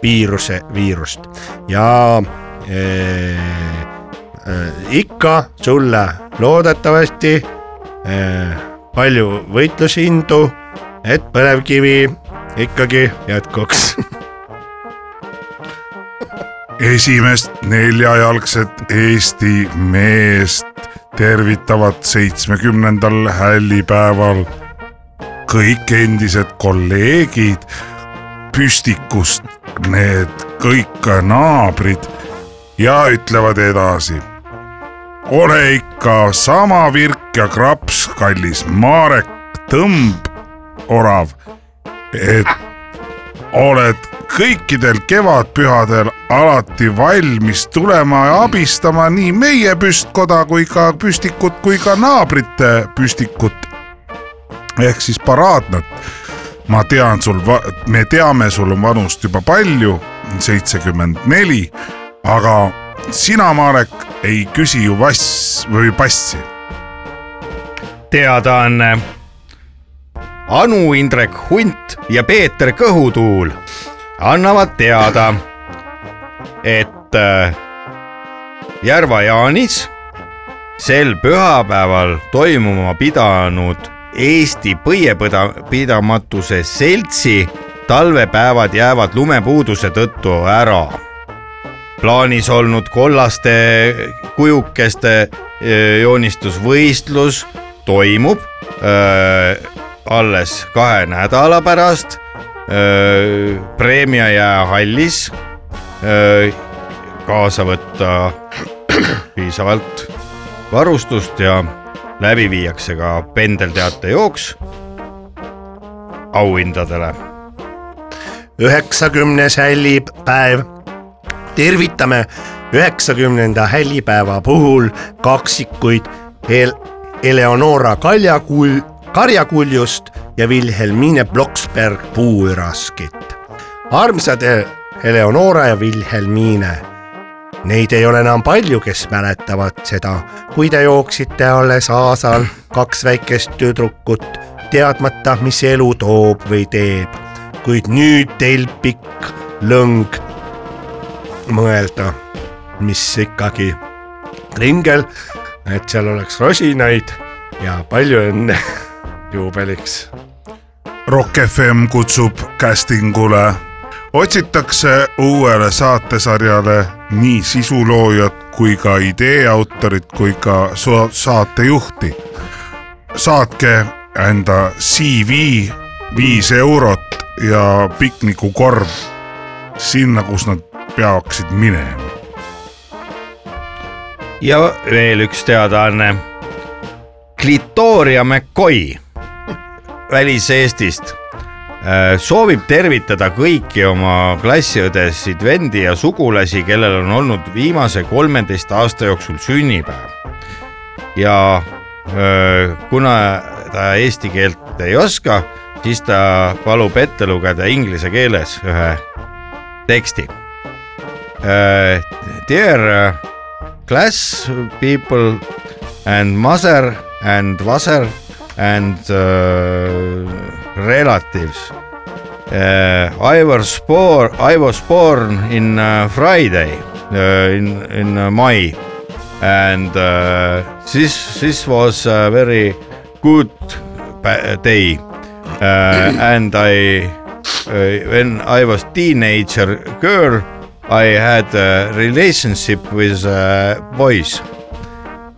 viiruse , viirust ja äh, äh, ikka sulle loodetavasti äh, palju võitlusindu , et põlevkivi ikkagi jätkuks .
esimest neljajalgset Eesti meest tervitavad seitsmekümnendal hällipäeval kõik endised kolleegid püstikust , need kõik naabrid ja ütlevad edasi . ole ikka sama virk ja kraps , kallis Marek , tõmb , orav , et oled kõikidel kevadpühadel alati valmis tulema ja abistama nii meie püstkoda kui ka püstikut kui ka naabrite püstikut . ehk siis paraadnat . ma tean sul , me teame , sul on vanust juba palju , seitsekümmend neli , aga sina , Marek , ei küsi ju vass või passi .
teadaanne . Anu Indrek Hunt ja Peeter Kõhutuul annavad teada , et äh, Järva-Jaanis sel pühapäeval toimuma pidanud Eesti Põiepõda- , pidamatuse seltsi talvepäevad jäävad lumepuuduse tõttu ära plaanis olnud kollaste kujukeste öö, joonistusvõistlus toimub öö, alles kahe nädala pärast öö, Preemia jäähallis . kaasa võtta piisavalt varustust ja läbi viiakse ka pendelteatejooks auhindadele .
üheksakümnes hällipäev . tervitame üheksakümnenda hällipäeva puhul kaksikuid El- , Eleonora Kaljakul- , Karjakuljust ja Wilhelmine Bloksberg Puuüraskit . armsad E- Eleonora ja Wilhelmine , neid ei ole enam palju , kes mäletavad seda , kui te jooksite alles aasal kaks väikest tüdrukut , teadmata , mis elu toob või teeb . kuid nüüd teil pikk lõng mõelda , mis ikkagi ringel , et seal oleks rosinaid ja palju õnne juubeliks .
Rock FM kutsub castingule . otsitakse uuele saatesarjale nii sisuloojat kui ka idee autorit kui ka so- saatejuhti . saatke enda CV viis eurot ja piknikukorv sinna , kus nad peaksid minema .
ja veel üks teadaanne . Clitoria McCoy väliseestist äh, soovib tervitada kõiki oma klassiõdesid , vendi ja sugulasi , kellel on olnud viimase kolmeteist aasta jooksul sünnipäev . ja äh, kuna ta eesti keelt ei oska , siis ta palub ette lugeda inglise keeles ühe teksti . Dear äh, class people and mother and father and uh, relatives. Uh, I was born. I was born in uh, Friday uh, in in uh, May, and uh, this this was a very good pa- day. Uh, and I, uh, when I was teenager girl, I had a relationship with uh, boys.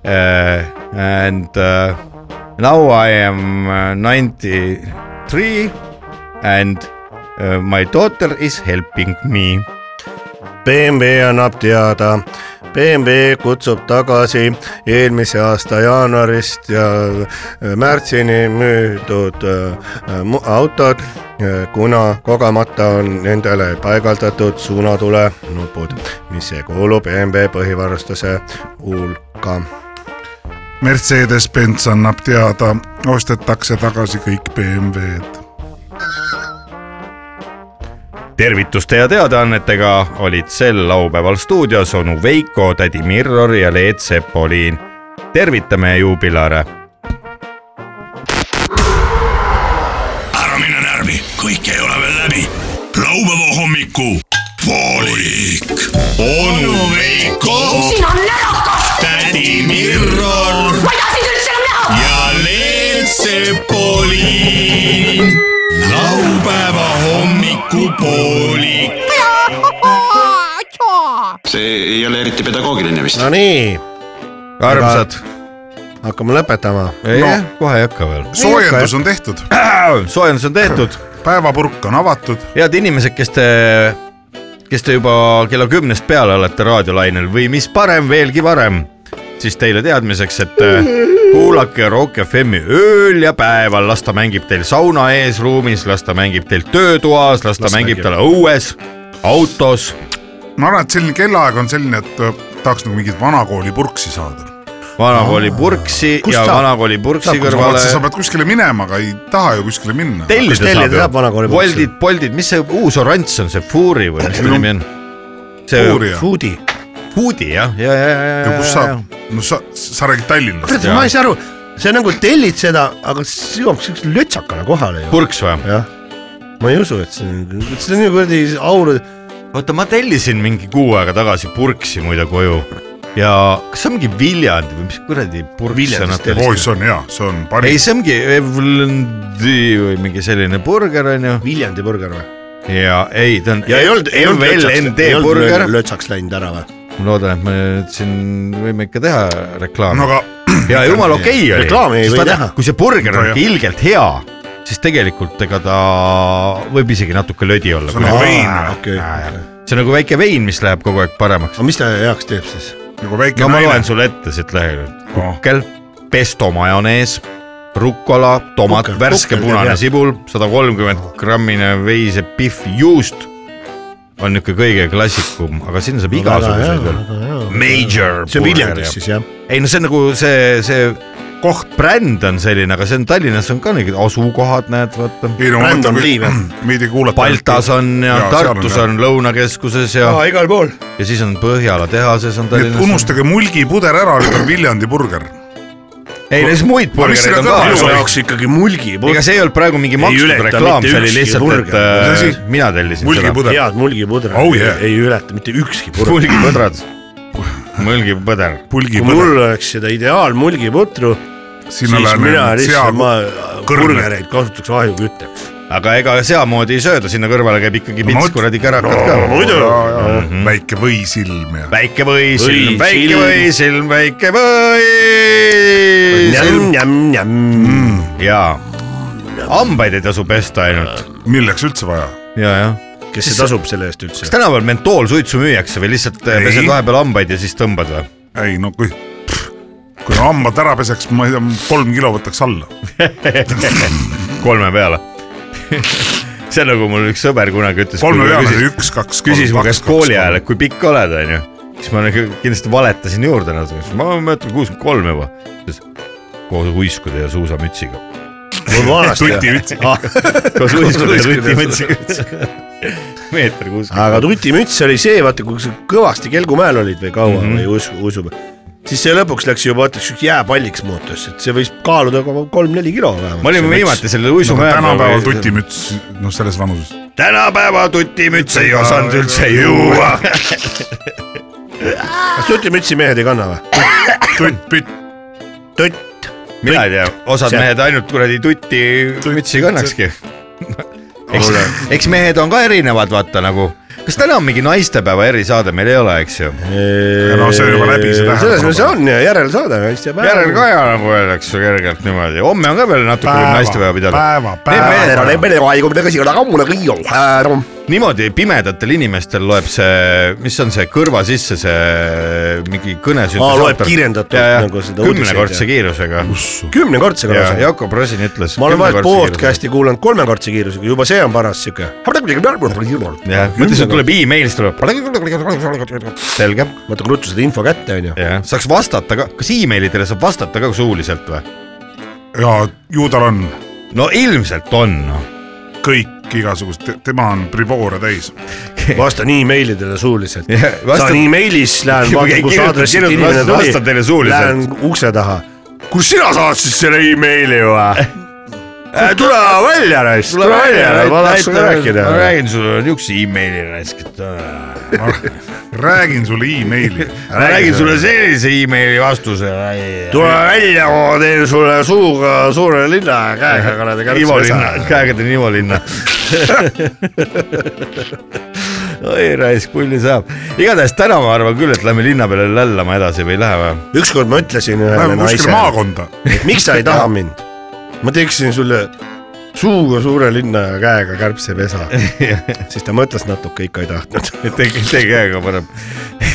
Uh, and uh, now I am uh, 93 and uh, my daughter is helping me.
BMW annab teada . BMW kutsub tagasi eelmise aasta jaanuarist ja äh, märtsini müüdud äh, mu- autod , kuna kogemata on nendele paigaldatud suunatulenupud , mis ei kuulu BMW põhivarustuse hulka .
Mercedes-Benz annab teada , ostetakse tagasi kõik BMW-d .
tervituste ja teadaannetega olid sel laupäeval stuudios onu Veiko , tädi Mirror ja Leet Sepoliin . tervitame juubilare
ära mine närvi , kõik ei ole veel läbi . laupäeva hommiku poolik . onu Veiko ,
sina närakas ,
tädi Mirror
ma ei taha sind üldse enam näha .
ja Leet Sepolin . laupäeva hommiku poolik .
see ei ole eriti pedagoogiline vist .
Nonii ,
armsad ,
hakkame lõpetama .
ei no. , kohe ei hakka veel .
soojendus on tehtud ,
soojendus on tehtud ,
päevapurk on avatud .
head inimesed , kes te , kes te juba kella kümnest peale olete raadiolainel või mis parem , veelgi varem , siis teile teadmiseks , et äh, kuulake Rock FM-i ööl ja päeval , las ta mängib teil sauna ees ruumis , las ta mängib teil töötoas , las ta mängib tal õues , autos
ma arvan , et selline kellaaeg on selline , et äh, tahaks nagu mingit vanakooli purksi saada .
vanakooli purksi ja vanakooli purksi kõrvale
sa pead kuskile minema , aga ei taha ju kuskile minna .
Kust
tellida
tellida saab
saab ju
vanakooli . purksi?
Boltid , Boltid , mis see uus oranž on , see Fuuri või mis ta nimi on ? see
Fuuria.
Foodi , Foodi jah , ja , ja , ja , ja
ja , kus saab , no sa , sa räägid Tallinnast .
kurat , ma ei saa aru , sa nagu tellid seda , aga see jõuab siukse lötsakana kohale ju .
purks või ?
jah , ma ei usu , et see on , see on ju kuradi aur ,
oota , ma tellisin mingi kuu aega tagasi purksi muide koju ja kas see on mingi Viljandi või mis kuradi purks see on ?
oi , see on hea , see on
ei ,
parim .
see ongi Evlendi või mingi selline burger onju
Viljandi burger või ?
ja ei , ta on .
ei
LND
olnud
burger
löö- , lötsaks läinud ära või ?
ma loodan , et me nüüd siin võime ikka teha reklaami
no aga
ja jumala okei okay oli .
Reklaami ei või teha.
kui see burger
No
on
jah.
ilgelt hea , siis tegelikult ega ta võib isegi natuke lödi olla .
see on nagu vein ,
okei ,
see on nagu väike vein , mis läheb kogu aeg paremaks .
aga mis ta heaks teeb siis ?
nagu väike
no ma
naine
loen . sulle ette siit leheküljelt .
Noh.
Oh.
kukkel , pesto majonees , rukkola , tomat
Kukkel, ,
värske
kukkel,
punane
jah.
sibul , sada kolmkümmend grammine veisepihv juust on niisugune kõige klassikum , aga sinna saab igasuguseid veel . Major .
see on Viljandis siis jah ?
ei no see on nagu see , see koht , bränd on selline , aga see on Tallinnas on ka mingid asukohad , näed , vaata .
ei no
Brandon
vaata ,
Lee või?
meid ei kuulata .
Baltas on ja, ja Tartus on, . on Lõunakeskuses ja ,
igal pool .
ja siis on Põhjala tehases on
nii et
Tallinnas .
unustage mulgipuder ära , nüüd on Viljandi burger .
ei , neis muid burgereid on
Aga
ka
mis selle .
jaoks ikkagi mulgi ,
ega see ei olnud praegu mingi makstud
ületa
reklaam ,
mitte
see oli
ükski
lihtsalt , et
burger.
äh,
Mis asi?
mina tellisin seda .
mulgipuder ,
head mulgipudra
Oh yeah.
ei ületa mitte ükski pudra .
mulgipõdrad , mulgipõder .
kui
pulgipuder ,
mul oleks seda ideaalmulgiputru , siis
sinna läheb
mina
nüüd sea
lihtsalt , ma
kõrne.
burgereid kasutaks ahjukütteks .
aga ega seamoodi ei sööda , sinna kõrvale käib ikkagi
ma
pits
mõt-
kuradi kärakad ka .
väike võisilm ja .
väike võisilm , väike
Võisilm.
võisilm , väike võisilm . Mm.
njam-njam-njam .
ja hambaid ei tasu pesta ainult .
milleks üldse vaja ?
ja , jah .
kes see tasub selle eest üldse
kas ? tänaval mentoolsuitsu müüakse või lihtsalt ei.
Ei.
pesed vahepeal hambaid ja siis tõmbad või ?
ei no kui , kui hambad ära peseks , ma ei tea , kolm kilo võtaks alla .
kolme peale . see on nagu mul üks sõber kunagi ütles .
kolme peale üks , kaks .
küsis mu käest kooli ajal , et kui pikk oled , onju . siis ma nagu kindlasti valetasin juurde natuke , ma mäletan kuuskümmend kolm juba . koos uiskude ja suusamütsiga .
tuti ütles ,
koos uiskude ja tutimütsiga . meeter kuuskümmend .
aga tutimüts oli see , vaata kui sa kõvasti kelgumäel olid või kaua mm -hmm. või usu , usume , siis see lõpuks läks juba vaata siukse jääpalliks muutus , et see võis kaaluda ka kolm-neli kilo vähemalt .
me olime viimati selle uisumäe
tänapäeval . tutimüts , noh , selles vanuses .
tänapäeva tutimüts ei osanud üldse juua .
kas tutimütsi mehed ei kanna või ?
tutt-pütt ,
tutt ,
mina ei tea , osad
See-
mehed ainult kuradi tutti mütsi kannakski . eks , eks mehed on ka erinevad , vaata nagu , kas täna on mingi naistepäeva erisaade , meil ei ole , eks ju .
no see on juba läbi , see
selles mõttes
tähendab .
on ja järelsaade on hästi päev .
järelkaja nagu öeldakse kergelt niimoodi , homme on ka veel natuke
Päeva,
võib naistepäeva pidada .
päeva, päeva.
järelkaja .
niimoodi pimedatel inimestel loeb see , mis on see kõrva sisse see mingi kõnesündmus .
Aa, loeb kiirendatult nagu seda uudiseid,
kümnekordse
jah.
kiirusega .
kümnekordse
ja
korras .
Jako Prosin ütles .
ma olen vahel podcast'i kuulanud kolmekordse kiirusega , juba see on paras siuke .
jah , mõtlesin , et tuleb emailist tuleb . nagu- selge ,
vaata , kui ruttu seda info kätte onju .
jah , saaks vastata ka , kas emailidele saab vastata ka suuliselt või ?
ja ju tal on
no ilmselt on , noh .
kõik igasugused , tema on priboore täis .
vastan emailidele suuliselt
Jah, . vastan-
saan emailis , lähen
Okei,
vaatan , kus
kirjutan-
aadressil
kirjutan
inimene
vastu-
tuli .
vastan teile suuliselt.
Lähen ukse taha . kus sina saatsid selle emaili või ? tule välja , raisk , tule välja , ma tahaks sinuga rääkida .
ma räägin sulle niisuguse emaili raisk , et .
räägin sulle emaili ,
ma räägin sulle sellise emaili vastuse .
tule välja , ma teen sulle suuga suure linna ja käega kuradi
Ivo linna , käega teen Ivo linna . oi raisk , pulli saab , igatahes täna ma arvan küll , et lähme linna peale lällama edasi või ei lähe või ?
ükskord ma ütlesin ühele
läheme Äh, kuskile
naisele ,
maakonda .
miks sa ei taha mind , ma teeksin sulle suuga suure linna ja käega kärbsepesa . siis ta mõtles natuke , ikka ei tahtnud .
tee , tee käega parem .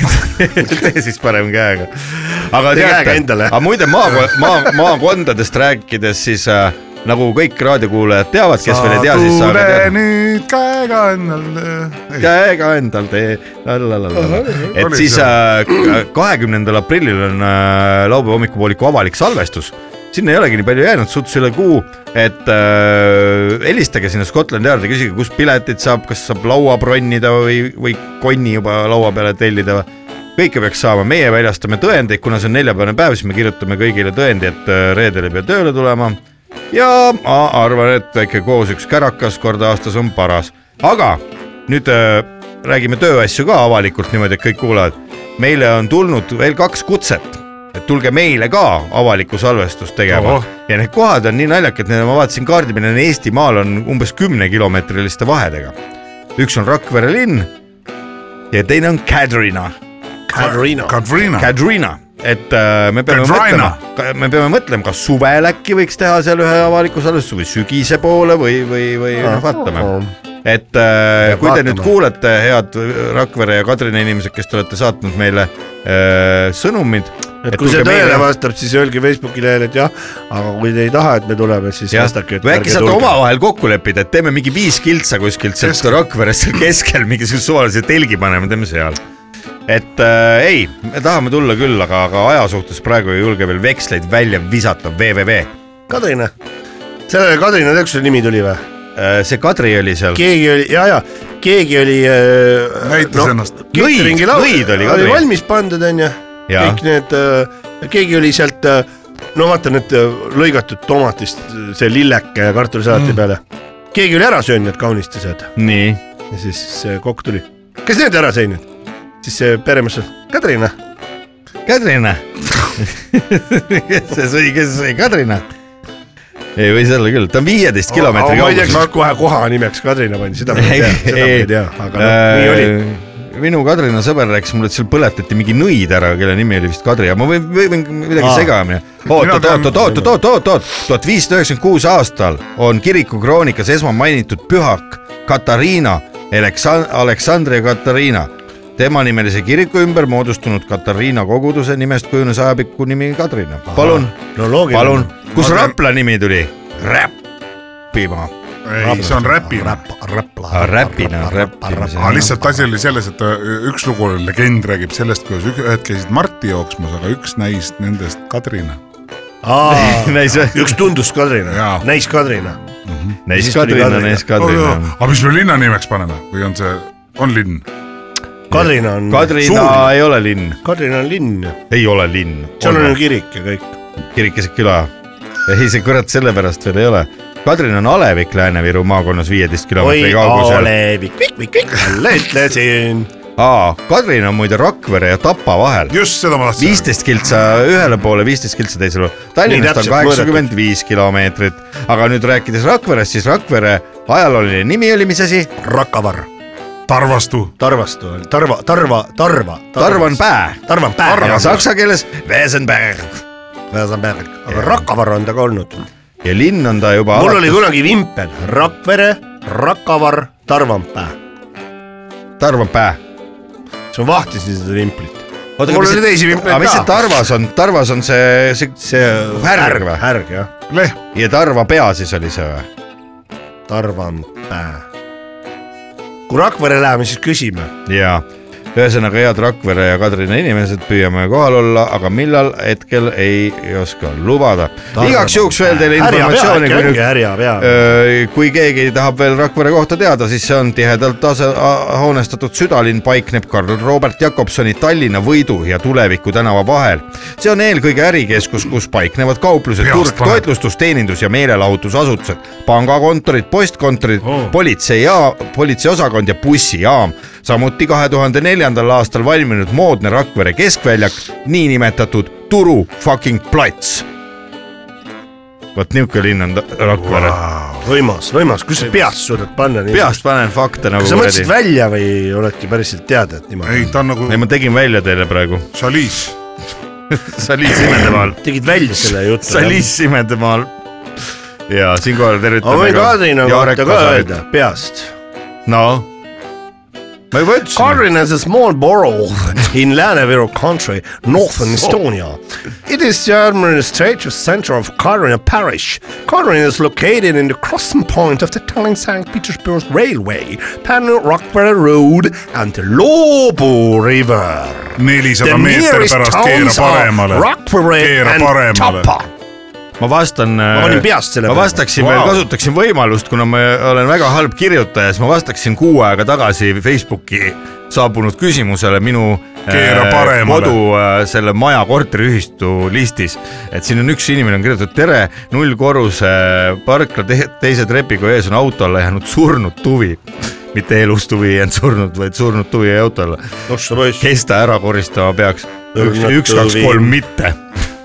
tee siis parem käega . aga
Tee käega endale.
aga muide maa , maa , maakondadest rääkides , siis äh, nagu kõik raadiokuulajad teavad , kes veel ei tea , siis saage
tule
teada .
nüüd käega
äh,
endale .
käega endal tee , et
oli
siis äh,
see.
kahekümnendal aprillil on äh, laupäeva hommikupooliku avalik salvestus sinna ei olegi nii palju jäänud , suts üle kuu , et äh, helistage sinna Scotland Yardi , küsige , kus piletid saab , kas saab laua bronnida või , või konni juba laua peale tellida või kõike peaks saama , meie väljastame tõendeid , kuna see on neljapäevane päev , siis me kirjutame kõigile tõendi , et äh, reedel ei pea tööle tulema . ja ma arvan , et väike koos üks kärakas kord aastas on paras , aga nüüd äh, räägime tööasju ka avalikult niimoodi , et kõik kuulavad . meile on tulnud veel kaks kutset , et tulge meile ka avalikku salvestust tegema
Ohoh.
ja need kohad on nii naljakad , ma vaatasin kaardi peal , Eestimaal on umbes kümnekilomeetriliste vahedega . üks on Rakvere linn ja teine on Kadrina
Katariina .
Katrina ,
Kadrina , et äh, me peame
Kadrina.
mõtlema , me peame mõtlema , kas suvel äkki võiks teha seal ühe avaliku salvestuse või sügise poole või , või , või noh , vaatame . et äh,
Peab
kui te nüüd
vaatama.
kuulete , head Rakvere ja Kadrina inimesed , kes te olete saatnud meile äh, sõnumid .
et kui see tõele vastab , siis öelge Facebooki lehel , et jah , aga kui te ei taha , et me tuleme , siis
jah ,
vastake , et
või äkki saate . omavahel kokku leppida , et teeme mingi viis kiltsa kuskilt sealt Rakverest seal keskel mingisuguse suvalise telgi paneme , teeme seal . et äh, ei , me tahame tulla küll , aga , aga aja suhtes praegu ei julge veel veksleid välja visata , VVV .
Kadrina , sellele Kadrina , tead , kus selle nimi tuli või ?
Äh, see Kadri oli seal ,
keegi oli ja , ja keegi oli äh,
näitas ennast .
cateringi
Nõid-
laua-
nõid oli
oli
Kadri.
valmis pandud , onju .
Jaa.
kõik need , keegi oli sealt , no vaata need äh, lõigatud tomatist , see lilleke ja kartulisalati mm. peale . keegi oli ära söönud need kaunistused
nii .
ja siis see kokk tuli . kes need ära sõi nüüd ? siis see peremees ütles , Kadrina .
Kadrina . see sõi , kes sõi Kadrina ? ei , võis olla küll , ta on viieteist kilomeetri
ma ei tea , kas
kaugusel .
ma kohe koha nimeks Kadrina panin , seda ma ei tea , seda ma ei tea , aga noh , nii oli .
Äh, minu Kadrina sõber rääkis mulle , et seal põletati mingi nõid ära , kelle nimi oli vist Kadri , aga ma võin , võin midagi
Aa.
segamini .
Mina
oot , oot ,
tean-
oot , oot , oot , oot , oot , tuhat viissada üheksakümmend kuus aastal on kirikukroonikas esmamainitud pühak Katariina , Aleksandria Katariina . tema nimelise kiriku ümber moodustunud Katariina koguduse nimest kujunes ajapikku nimi Kadrina . palun ,
no loogiline .
palun , kus Rapla nimi tuli ? räppima ,
ei , see on räpina .
räpina ,
aga
räppimise .
lihtsalt asi oli selles , et ö, üks lugu , legend räägib sellest , kuidas ük- ühed käisid Marti jooksmas , aga üks näis nendest Kadrina .
näis ,
üks tundus Kadrina
Jaa. ,
näis Kadrina .
näis
tuli
Kadrina ,
Kadrina.
näis Kadrina
aga mis me linna nimeks paneme või on see , on linn ?
Kadrina on
Kadrina
suur ,
ei ole linn ,
Kadrina on linn ,
ei ole linn .
seal on ju kirik ja kõik .
kirikese küla . ei , see kurat sellepärast veel ei ole . Kadrina on alevik Lääne-Viru maakonnas viieteist
oi
kilomeetri , kaugusel .
Olevi , kõik , kõik , kõik , jälle ütlesin .
aa , Kadrina on muide Rakvere ja Tapa vahel .
just seda ma tahtsin .
viisteist kiltsa ühele poole , viisteist kiltsa teisele poole . Tallinnast on
täpselt mõõdetud.
kaheksakümmend viis kilomeetrit , aga nüüd rääkides Rakverest , siis Rakvere ajalooline nimi oli mis asi ?
Rakavarr ,
Tarvastu .
Tarvastu on , Tarva , Tarva , Tarva .
Tarvanpää
Tarva on
ja
päev ,
saksa keeles Wesenberg
Väsenberg , aga Rakavara on ta ka olnud .
ja linn on ta juba
mul oli
alates
kunagi vimpel Rakvere , Rakavarr , Tarvanpää ,
Tarvanpää .
siis ma vahtisin seda vimplit .
oota ,
Mul oli teisi vimpleid
aga mis
ka.
see Tarvas on , Tarvas on see , see
see
Härg või?
härg jah ,
ja Tarva pea siis oli see või ?
Tarvanpää . kui Rakvere läheme , siis küsime .
jaa , ühesõnaga head Rakvere ja Kadrina inimesed , püüame kohal olla , aga millal , hetkel ei oska lubada . igaks juhuks veel teile informatsiooni , kui nüüd Äh,
härja pea .
Öö, kui keegi tahab veel Rakvere kohta teada , siis see on tihedalt ase- , hoonestatud südalinn , paikneb Karl Robert Jakobsoni Tallinna Võidu ja Tuleviku tänava vahel . see on eelkõige ärikeskus , kus paiknevad kauplused ,
Peast
turg ,
paneb.
toitlustus , teenindus ja meelelahutusasutused , pangakontorid , postkontorid oh. , politseijaam , politseiosakond ja bussijaam . samuti kahe tuhande neljandal aastal valminud moodne Rakvere keskväljak , niinimetatud Turu fucking plats . vot niisugune linn on ta- Rakvere wow. .
võimas , võimas , kus sa peast suudad panna nii ?
peast panen fakte nagu
kas sa mõtlesid
kuradi .
välja või oledki päriselt teada , et niimoodi ?
ei , ta on nagu
ei , ma tegin välja teile praegu .
Chalice .
Saliis Imedemaal .
tegid välja selle jutu ?
Saliis Imedemaal . ja siinkohal
aga
tervitame
võin Kadrina kohta ka öelda . peast
no . ma juba ütlesin .
Karin is a small borough in Lääne-Viru country, northern Estonia. It is the administrative center of Karin Parish. Karin is located in the crossing point of the Tallinn St. Petersburg Railway, Pärnu Rockvere Road and the Loobu River.
nelisada
The
meetri
nearest
pärast keera
towns are
paremale .
Rockvere
keera
and
paremale .
Tapa.
ma vastan . äh, ma
panin peast selle
ma
peale.
vastaksin wow.
Vau.
veel , kasutaksin võimalust , kuna ma olen väga halb kirjutaja , siis ma vastaksin kuu aega tagasi Facebooki saabunud küsimusele minu
Keera paremale.
kodu äh, selle maja korteriühistu listis . et siin on üks inimene on kirjutatud , tere , nullkorruse parkla te teise trepiga ees on auto alla jäänud surnud tuvi . mitte elus tuvi ei jäänud surnud , vaid surnud tuvi jäi auto alla .
Oh sa poiss.
kes ta ära koristama peaks ? üks ,
Surnud
üks , kaks ,
tuvi.
kolm , mitte .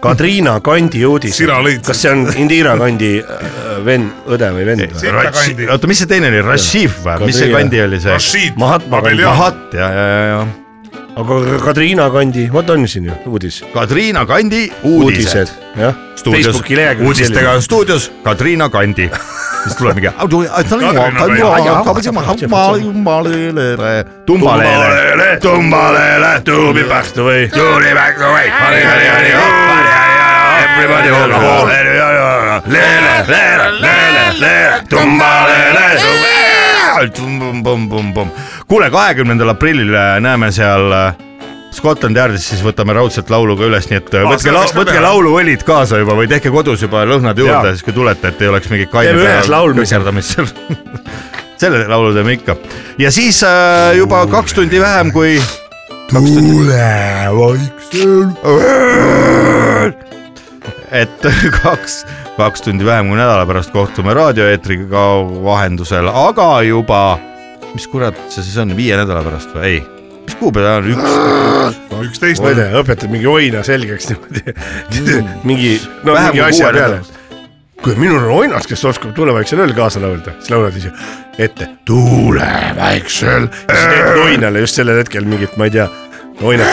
Kadriina kandi uudis .
Sina lõid-
kas see on Indira kandi äh, vend , õde või vend või ?
Sita kandi .
oota , mis see teine oli , Rašif või , mis see
Kadri-
kandi oli see ?
Rashid
Mahatma
Abeljan .
Mahat ja , ja , ja , ja
aga Kadriina kandi , vot on siin ju uudis .
Kadriina Kandi uudised, uudised. .
jah .
stuudios
Facebooki lehekülg .
uudistega on stuudios Kadriina Kandi , siis tuleb mingi . tumbaleele , tumbaleele , tuubi pähtu või , tuuli pähtu või , hari , hari , hari , hari , hari , everybody hold the ball , leele , leele , leele , leele , tumbaleele , tumbaleele . kuule , kahekümnendal aprillil äh, näeme seal äh, Scotland Yardis siis võtame raudselt laulu ka üles , nii et äh, võtke , võtke lauluõlid kaasa juba või tehke kodus juba lõhnad juurde , siis kui tulete , et ei oleks mingit kaine
Teeme ühes laulmise.
kõkerdamist seal . selle laulu teeme ikka ja siis äh, juba kaks tundi vähem kui . et kaks , kaks tundi vähem kui nädala pärast kohtume raadioeetriga ka vahendusel , aga juba , mis kurat see siis on , viie nädala pärast või ei , mis kuupäev ta on , üks
üksteist .
ma ei tea , õpetad mingi oina selgeks niimoodi
Mm.
mingi , no
Vähem
mingi
kui
asja
kuue
peale . kui minul on oinas , kes oskab tulevaikse lööl kaasa laulda , siis laulad ise . ette , tuule vaiksel , siis teeb noinale just sellel hetkel mingit , ma ei tea , noinat .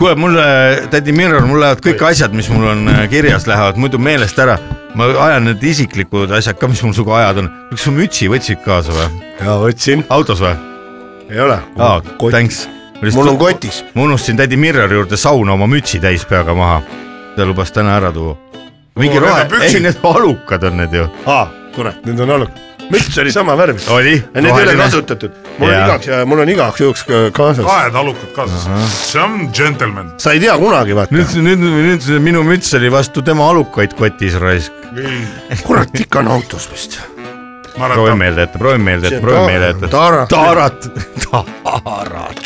kuule , mulle , tädi Mirror , mul lähevad kõik asjad , mis mul on äh, kirjas , lähevad muidu meelest ära . ma ajan need isiklikud asjad ka , mis mul sinuga ajad on . kas sa mütsi võtsid kaasa või ?
ja võtsin ,
autos või ?
ei ole .
aa , thanks .
mul on kotis .
ma unustasin tädi Mirrori juurde sauna oma mütsi täis peaga maha . ta lubas täna ära tuua . mingi
Mul on
rohe
need , püksid.
ei need alukad on need ju .
aa , kurat , nüüd on olnud . müts oli sama värv .
oli .
Ja need ei ole . kasutatud , mul on
Jaa.
igaks , mul on igaks juhuks ka- kaasas ,
kahed alukad kaasas , see on džentelmen .
sa ei tea kunagi , vaata ,
nüüd , nüüd , nüüd see minu müts oli vastu tema alukaid kotis raisk .
kurat ikka on autos vist .
ma
proovi
arvan ,
meelde jätta , proovi meelde jätta , proovi meelde jätta .
Taara ,
taarat , taarat .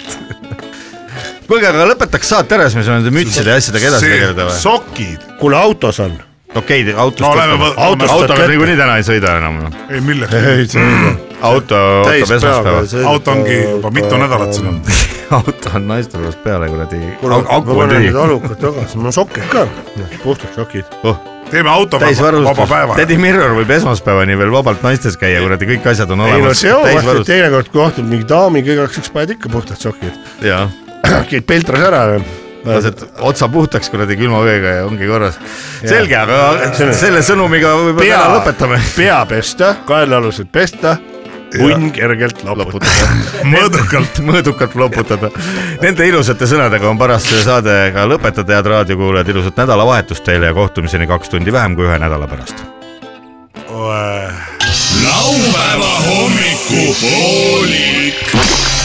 kuulge , aga lõpetaks saate ära , siis me saame nende mütside ja asjadega
et
edasi tegeleda
see
või ?
sokid ,
kuule autos on ,
okei , autost
No oleme
võtame.
võ- Autost
autoga
võtame ette.
niikuinii täna ei sõida enam .
ei milleks ,
Mm. auto
täis
ootab
peaga
esmaspäeva .
auto ongi juba mitu nädalat siin olnud .
auto on naiste pärast peale kuradi .
ma
aku on
panen
tühi
need . alukad tagasi , mul on sokid ka , puhtad sokid .
teeme auto vaba
täisvarustus
päeva .,
tädi Mirror võib esmaspäevani veel vabalt naistes käia , kuradi kõik asjad on
ei no
olemas .
see on vahet , et teinekord kui kohtud mingi daami , kõigeks üks paned ikka puhtad sokid ,
jaa ,
käid peltras ära .
lased otsa puhtaks kuradi külma veega ja ongi korras . selge , aga selle sõnumiga võib-olla
Pea-
täna lõpetame .
pea pesta , kaelaalused pesta , punn kergelt loputada .
mõõdukalt , mõõdukalt loputada . Nende ilusate sõnadega on paras see saade ka lõpetada , head raadiokuulajad , ilusat nädalavahetust teile ja kohtumiseni kaks tundi vähem kui ühe nädala pärast .
laupäeva hommikupoolik .